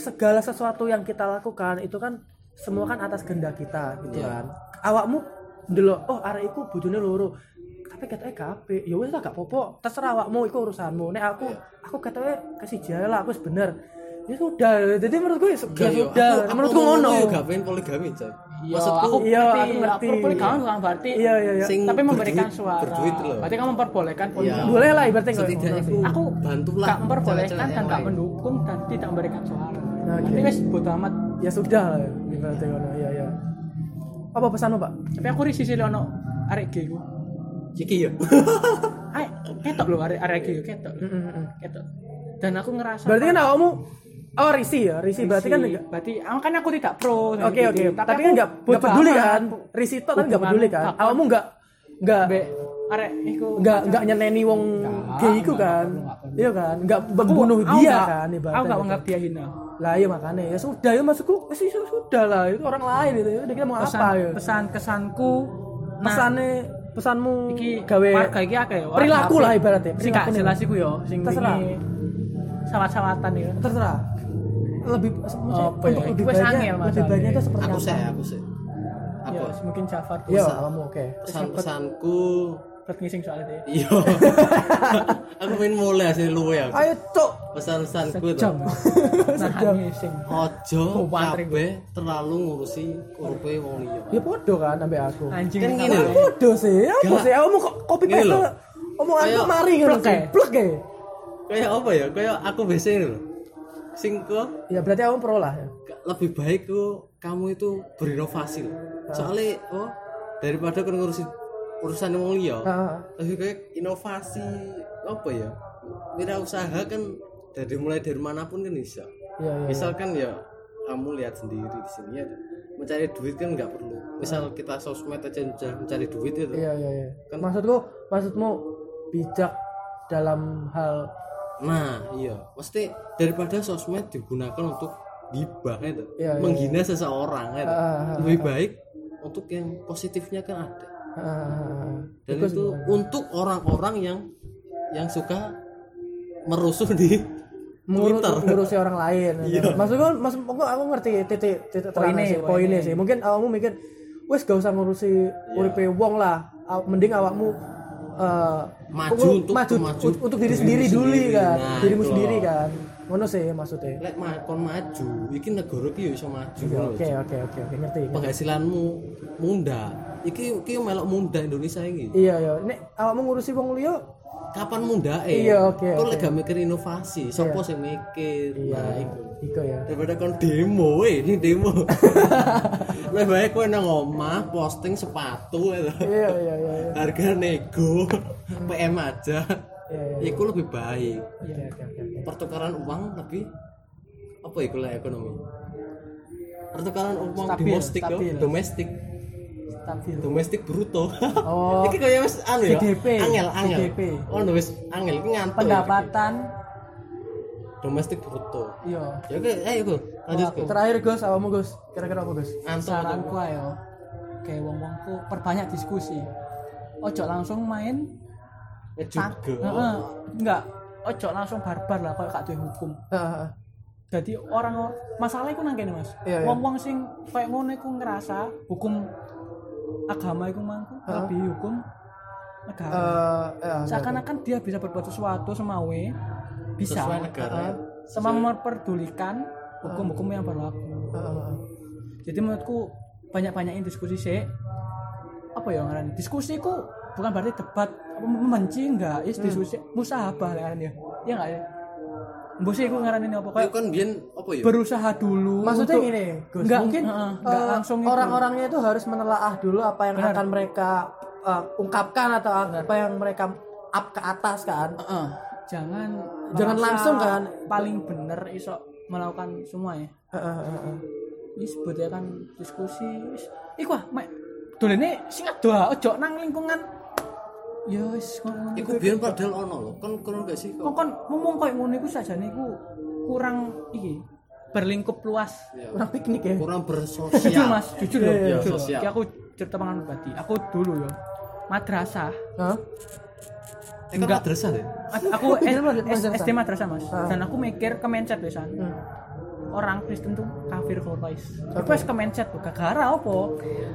S2: segala sesuatu yang kita lakukan itu kan semua kan atas kehendak kita gitu
S4: Iya.
S2: kan. Awakmu ndelok oh arek iku bojone loro. Tapi katanya kabeh, ya wis lah gak popo, terserah awakmu iku urusanmu. Nek aku
S4: Ya.
S2: aku katanya kasih jalan lah aku wis bener. Ya sudah, jadi menurutku ya sudah,
S4: Iya,
S2: sudah.
S4: aku- aku
S2: menurutku ngono.
S4: ya gak pengen poligami, Cak.
S1: Iya,
S4: Maksudku
S1: aku
S2: Iya,
S1: ngerti.
S2: aku
S1: Nggak
S2: ngerti.
S1: pro poligami bukan berarti
S2: Iya, iya, iya.
S4: sing
S1: tapi memberikan
S4: berduit-
S1: suara.
S4: Berduit loh.
S1: Berarti kamu memperbolehkan poligami.
S2: Boleh lah ibaratnya kayak
S4: Setidaknya
S2: ngono
S4: aku
S2: sih.
S1: aku
S4: bantulah
S1: gak memperbolehkan
S4: cewek-cewek
S1: dan
S4: yang
S1: gak
S4: lain.
S1: mendukung dan tidak memberikan suara
S2: Nah,
S1: nanti
S2: oke.
S1: guys bodo amat
S2: Ya sudah lah ibaratnya ngono. Ya ya. Apa pesanmu, Pak?
S1: tapi aku risih sih ono arek gay ku
S4: Iki ya.
S2: Iya.
S1: Ay, ketok lho arek arek gay ku, ketok lho.
S2: Mm, mm, mm.
S1: ketok dan aku ngerasa
S2: Berarti kan awakmu oh risi ya, risi, berarti kan enggak
S1: berarti ah, kan aku tidak pro
S2: Oke
S1: LGBT.
S2: oke, tapi
S1: aku
S2: kan enggak
S1: bodo
S2: enggak peduli
S1: amat.
S2: kan. Risi itu kan enggak
S1: Hubungan
S2: peduli kan.
S1: apa?
S2: Awakmu enggak enggak
S1: Be, arek iku
S2: enggak enggak nyeneni wong
S1: Enggak,
S2: gay iku
S1: enggak,
S2: kan.
S1: enggak, enggak.
S2: Iya kan? Enggak membunuh
S1: Aku- aku
S2: dia
S1: nggak-
S2: kan
S1: aku
S2: ibaratnya.
S1: gak
S2: gitu.
S1: menganggap dia hina
S2: Lah iya makanya ya sudah ya masukku eh, sih sudah lah itu orang lain itu. Udah kita mau
S1: pesan,
S2: apa ya?
S1: pesan nah. kesanku
S2: Pesannya pesanmu
S1: iki
S2: gawe
S1: warga iki akeh yo.
S2: Perilaku lah ibaratnya,
S1: Sing
S2: perilaku
S1: gak
S2: nih.
S1: jelas iku yo sing
S2: Terserah.
S1: wingi sawat-sawatan ya.
S2: terserah lebih eh,
S1: Apa ya?
S2: untuk lebih
S1: Wes
S2: banyak
S1: angel
S2: lebih
S1: masalahnya.
S2: banyak itu seperti
S4: Aku
S2: apa?
S4: sih, aku sih. Aku
S1: Ya, mungkin Jafar
S2: Iya,
S1: bisa.
S2: kamu oke.
S4: pesan-pesanku
S1: Ket ngising soalnya deh.
S4: Iya. aku main mulai hasil luwe aku.
S2: ayo cok
S4: Pesan-pesanku itu.
S1: Jam. Nahan ngising. Oh,
S4: Ojo
S1: mantri,
S4: kabeh terlalu ngurusi uripe wong liya.
S2: ya podo kan sampai aku
S1: Anjing.
S4: Kan
S1: kita
S4: gini
S1: tahu.
S4: loh.
S2: podo sih ya apa
S4: Gak.
S2: sih kamu kok copy
S4: Gini
S2: paste
S4: loh.
S2: omong aku
S4: Kayak
S2: mari ngono
S1: plek,
S2: sih
S1: ya.
S2: plek ya
S4: Kayak apa ya? Kayak aku biasanya ini loh. Singko
S2: ya berarti kamu pro lah ya.
S4: lebih baik tuh kamu itu berinovasi loh.
S2: Ah.
S4: Soalnya oh daripada kan ngurusi urusan wong liya.
S2: Ah,
S4: Lebih baik inovasi apa ya? Wira usaha kan dari mulai dari manapun kan bisa.
S2: iya iya
S4: Misalkan ya kamu lihat sendiri di sini ya mencari duit kan nggak perlu. Misal kita sosmed aja udah mencari duit itu.
S2: iya iya iya
S4: Kan-
S2: maksudku maksudmu bijak dalam hal
S4: Nah, iya. Pasti daripada sosmed digunakan untuk gibah itu,
S2: Iya, iya,
S4: menghina seseorang
S2: Ah,
S4: itu.
S2: ah, ah,
S4: Lebih baik untuk yang positifnya kan ada.
S2: ah,
S4: Dan itu, untuk orang-orang yang yang suka merusuh di
S2: mengurus
S4: Twitter.
S2: ngurusi orang lain.
S4: Iya.
S2: Maksudku, maksud aku, aku ngerti titik titik terangnya
S1: Poinnya, ya,
S2: sih, poinnya
S1: poinnya.
S2: sih. Mungkin awakmu mikir, wes gak usah ngurusi
S4: Iya.
S2: uripe wong lah. Aw- Mending awakmu eh,
S4: Maju
S2: pengurus-
S4: untuk-
S2: maju
S4: maju
S2: ut- untuk diri
S4: diri
S2: sendiri dulu
S4: sendiri.
S2: kan,
S4: Nah,
S2: dirimu
S4: itu
S2: sendiri
S4: loh.
S2: kan. Ngono sih maksudnya.
S4: lek makon maju, iki negara ki yo iso maju.
S2: Ya,
S4: lho,
S2: Oke oke oke oke ngerti. ngerti.
S4: Penghasilanmu munda. Iki iki melok munda Indonesia ini.
S2: Iya iya. Nek awakmu ngurusi wong liya,
S4: Nah, Kapan munda eh?
S2: Iya, oke, oke.
S4: Kok
S2: Iya.
S4: lek gak mikir inovasi, sapa sing mikir? Nah, iku.
S2: iku ya.
S4: daripada kon demo eh ini demo lebih baik kowe nang omah posting sepatu itu
S2: Iya iya iya. iya.
S4: harga nego PM aja
S2: Iya iya.
S4: itu lebih baik
S2: Oke oke oke. oke.
S4: pertukaran uang lebih apa itu lah ekonomi pertukaran uang
S1: Stabil,
S4: domestik yo,
S1: stabil.
S4: domestik
S1: Stabil.
S4: domestik bruto
S2: Oh.
S4: iki kaya wis anu ya
S1: GDP,
S4: angel angel
S1: GDP.
S4: oh wis angel iki ngantuk ya,
S1: Pendapatan.
S4: iki. domestik bruto
S1: Iya.
S4: ya oke ayo Gu. lanjut Gu.
S2: Terakhir Gus, awakmu Gus. Kira-kira apa Gus?
S4: Ngantuk, Gu.
S1: Saranku ayo. Kayak wong-wongku perbanyak diskusi. Ojo langsung main
S4: ngejut
S1: tak.
S4: Gu.
S1: Heeh. Enggak. Ojo langsung barbar lah kayak gak duwe hukum.
S2: Ah, ah, ah.
S1: jadi orang masalahnya iku nang kene Mas.
S2: Iya, iya.
S1: Wong-wong sing kayak ngono iku ngerasa hukum agama iku mangku lebih hukum negara.
S2: Eh, eh,
S1: Seakan-akan dia bisa berbuat sesuatu semawe bisa
S4: sesuai negara
S2: ya.
S1: eh, sama memperdulikan hukum-hukum yang berlaku.
S2: eh, eh, eh.
S1: Jadi menurutku banyak-banyakin diskusi sih. Apa ya ngaran? Diskusi ku bukan berarti debat apa membenci enggak,
S2: Hmm.
S1: is diskusi musabah lah ngaran ya. Iya enggak ya? Mbok sih iku ngaran ini apa
S4: Kau
S1: kayak
S4: kan biyen apa ya?
S1: berusaha dulu
S2: Iya. Maksudnya
S1: untuk-
S2: gini, Gus,
S1: Nggak,
S2: mungkin
S1: heeh,
S2: eh,
S1: nggak langsung itu.
S2: orang-orangnya itu harus menelaah dulu apa yang
S1: Benar.
S2: akan mereka eh, ungkapkan atau apa yang mereka up ke atas kan.
S1: Heeh. jangan
S2: Jangan
S1: merasa
S2: langsung, kan?
S1: paling bener iso melakukan semua ya
S2: Eh, eh, eh, eh.
S1: ini sebutnya kan diskusi wis. iku ah mek dolene sing doa ojo nang lingkungan ya wis ngono
S4: Iku biyen padahal ono lho. Kon kono gak sih
S1: kon
S4: kok?
S1: kon ngomong koyo ngono iku sajane iku kurang iki berlingkup luas
S4: Ya,
S2: Kurang piknik ya.
S4: Kurang
S1: jujur
S4: bersosial. Eh,
S1: mas jujur
S2: Iya,
S1: loh
S4: iya,
S1: jujur.
S4: sosial.
S1: Iki aku cerita pengalaman pribadi aku dulu ya madrasah
S2: Hah?
S4: Eh, kan
S1: Enggak.
S4: madrasah deh.
S1: aku S-
S2: Lanjut,
S1: S-
S2: lanjut,
S1: SD madrasah mas
S2: Ah.
S1: dan aku mikir ke mindset ah. pisan
S2: Hmm.
S1: orang Kristen tuh kafir korais
S2: Oke.
S1: aku wis ke mindset tuh gara apa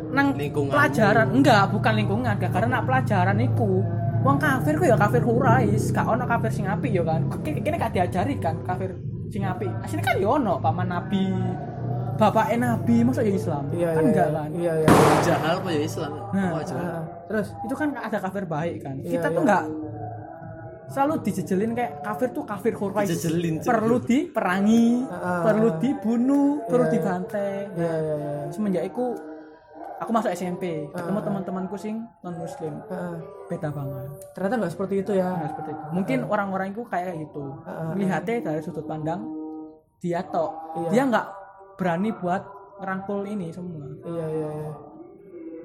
S1: nang
S4: Lingkungan.
S1: pelajaran enggak bukan lingkungan gara nak pelajaran iku wong kafir ku ya kafir korais gak ono kafir sing apik ya kan Ki- kene gak diajari kan kafir sing apik asline kan ya ono paman nabi bapak nabi masa ya Islam
S2: Iya,
S1: kan
S2: iya,
S1: enggak
S2: iya.
S1: kan
S2: Iya, iya.
S4: Jahal apa ya Islam?
S1: Nah,
S4: Apa aja?
S2: Eh, eh. Terus
S1: itu kan ada kafir baik kan
S2: Iya,
S1: kita tuh
S2: iya.
S1: nggak selalu dijejelin kayak kafir tuh kafir korais
S4: Dijejelin, jejelin.
S1: perlu diperangi
S2: Heeh.
S1: perlu dibunuh perlu
S2: Iya.
S1: dibantai
S2: ya ya ya.
S1: semenjak itu aku masuk SMP
S2: Ah.
S1: ketemu teman-temanku sing non muslim
S2: Eh, eh.
S1: beda banget
S2: Ternyata nggak seperti itu ya.
S1: Nah, seperti itu. mungkin orang-orang itu kayak gitu
S2: Heeh.
S1: melihatnya dari sudut pandang dia tok
S2: ah, Iya.
S1: dia nggak berani buat ngerangkul ini semua
S2: Iya iya iya.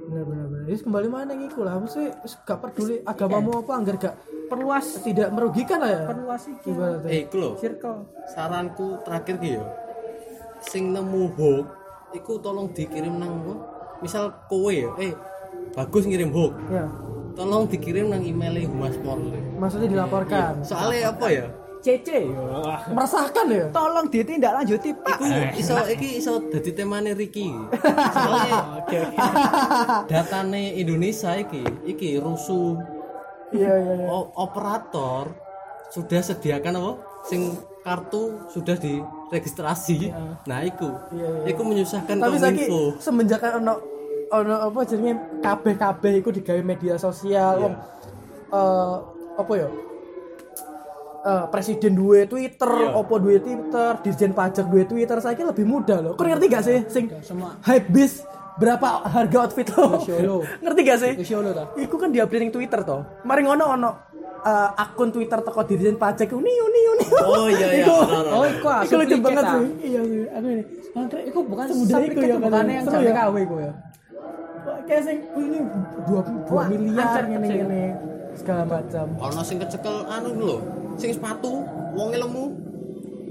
S2: Benar benar benar. Terus kembali mana yang iku lah. Maksudnya gak peduli agamamu apa anggar gak
S1: perluas
S2: tidak merugikan lah ya.
S1: perluas iki
S2: Ibaratnya.
S4: Eh, iku lho.
S1: circle
S4: Saranku terakhir ki yo. Sing nemu hoax, iku tolong dikirim nang kok. Misal kowe ya, eh bagus ngirim hoax.
S2: Ya.
S4: Tolong dikirim nang email Humas Polri.
S2: Maksudnya dilaporkan.
S4: Soalnya apa ya?
S1: CC
S2: Meresahkan ya.
S1: tolong ditindaklanjuti pak
S4: Iku
S2: Eh.
S4: iso iki iso dadi temane Riki. Soalnya datane Indonesia iki iki rusuh
S2: Iya iya. iya.
S4: O- operator sudah sediakan apa sing kartu sudah diregistrasi nah iku iku menyusahkan
S2: Tapi saiki
S4: kominfo
S2: semenjak ono ono apa jenenge kabeh-kabeh iku digawe media sosial wong eh apa ya? Eh, presiden duwe Twitter,
S4: Iya.
S2: opo duwe Twitter, Dirjen Pajak duwe Twitter, saiki lebih mudah loh. Kau ngerti Iya, gak sih sing
S1: sama
S2: hype bis berapa harga outfit lo?
S1: Masya Allah.
S2: ngerti gak sih?
S1: Masya Allah ta.
S2: Iku kan diupdate ning Twitter toh. Mari ngono ono eh, akun Twitter teko Dirjen Pajak iku niu niu niu.
S4: oh iya iya
S2: Iku-
S4: bener, bener.
S1: Oh, iku ah,
S2: Iku lucu
S1: supliket,
S2: banget
S1: ah.
S2: sih. Iya sih. Aku ini.
S1: Anggrek iku bukan
S2: Semudah
S1: sapi
S2: iku
S1: itu
S2: ya,
S1: bukan
S2: kan.
S1: yang
S2: Seru
S1: sampe
S2: ya.
S1: KW iku ya.
S2: Wah, Kayak sing ini 2
S1: Wah,
S2: miliar
S1: aset
S2: ngene
S1: kecil.
S2: ngene segala macam.
S4: ono sing kecekel anu lho sing sepatu wonge lemu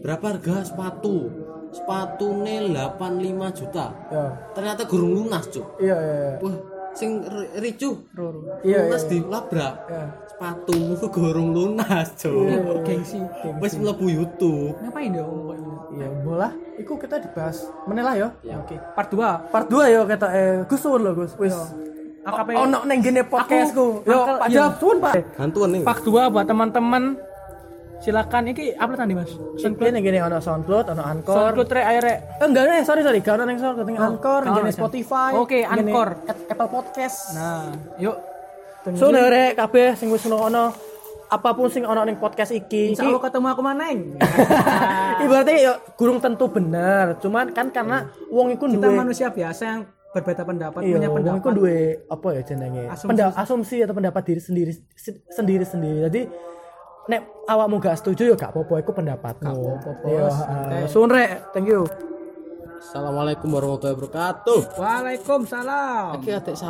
S4: berapa harga sepatu sepatune 85 juta
S2: Ya.
S4: ternyata gurung lunas cuk
S2: Iya iya. iya.
S4: wah sing ri- ricu
S1: Roro.
S2: Iya
S4: lunas
S2: iya.
S4: dilabrak
S2: Iya.
S4: sepatumu gurung lunas
S2: Iya.
S4: cuk
S1: Gengsi.
S4: wis mlebu YouTube
S1: Ngapain dia ngomong kayak gini? Ya,
S2: Iya, bola. Iku kita dibahas. Menelah yo.
S1: Oke, part 2.
S2: Part 2 yo kita eh Gus suwun lho Gus. Wis. Oh,
S1: AKP.
S2: Ono ning gene
S1: Aku-
S2: podcastku. Yo,
S1: Angkel-
S2: Pak
S1: iya.
S2: Jawab suwun Pak.
S4: bantuan nih
S1: Part 2 buat teman-teman silakan iki upload nanti Mas.
S2: Soundcloud ning gene ono SoundCloud, ono Anchor.
S1: Soundcloud re air, Rek.
S2: Eh, enggak, enggak, sorry, sorry. Gak ada yang sorry, ketinggalan Anchor,
S1: gak
S2: gini
S1: ada.
S2: Spotify.
S1: Oke,
S2: gini
S1: Anchor.
S2: At- Apple Podcast.
S1: Nah, yuk.
S2: so, nere, kabeh, sing wis ono, apapun sing ono ning podcast iki.
S1: Insya
S2: iki-
S1: Allah ketemu aku maneng.
S2: Ibaratnya ya gurung tentu bener, cuman kan karena wong iku
S1: Kita
S2: duwe
S1: manusia biasa yang berbeda pendapat,
S2: iya,
S1: punya
S2: wong
S1: pendapat.
S2: iku duwe apa ya jenenge?
S1: Asumsi.
S2: Pendapat asumsi atau pendapat diri sendiri sendiri sendiri. Jadi nek awakmu gak setuju ya gak apa-apa iku pendapatmu.
S1: apa-apa, Bos.
S2: Iya,
S1: Santai.
S2: heeh. Sun, Rek. thank you.
S4: Assalamualaikum warahmatullahi wabarakatuh
S1: Waalaikumsalam.
S4: Oke, adik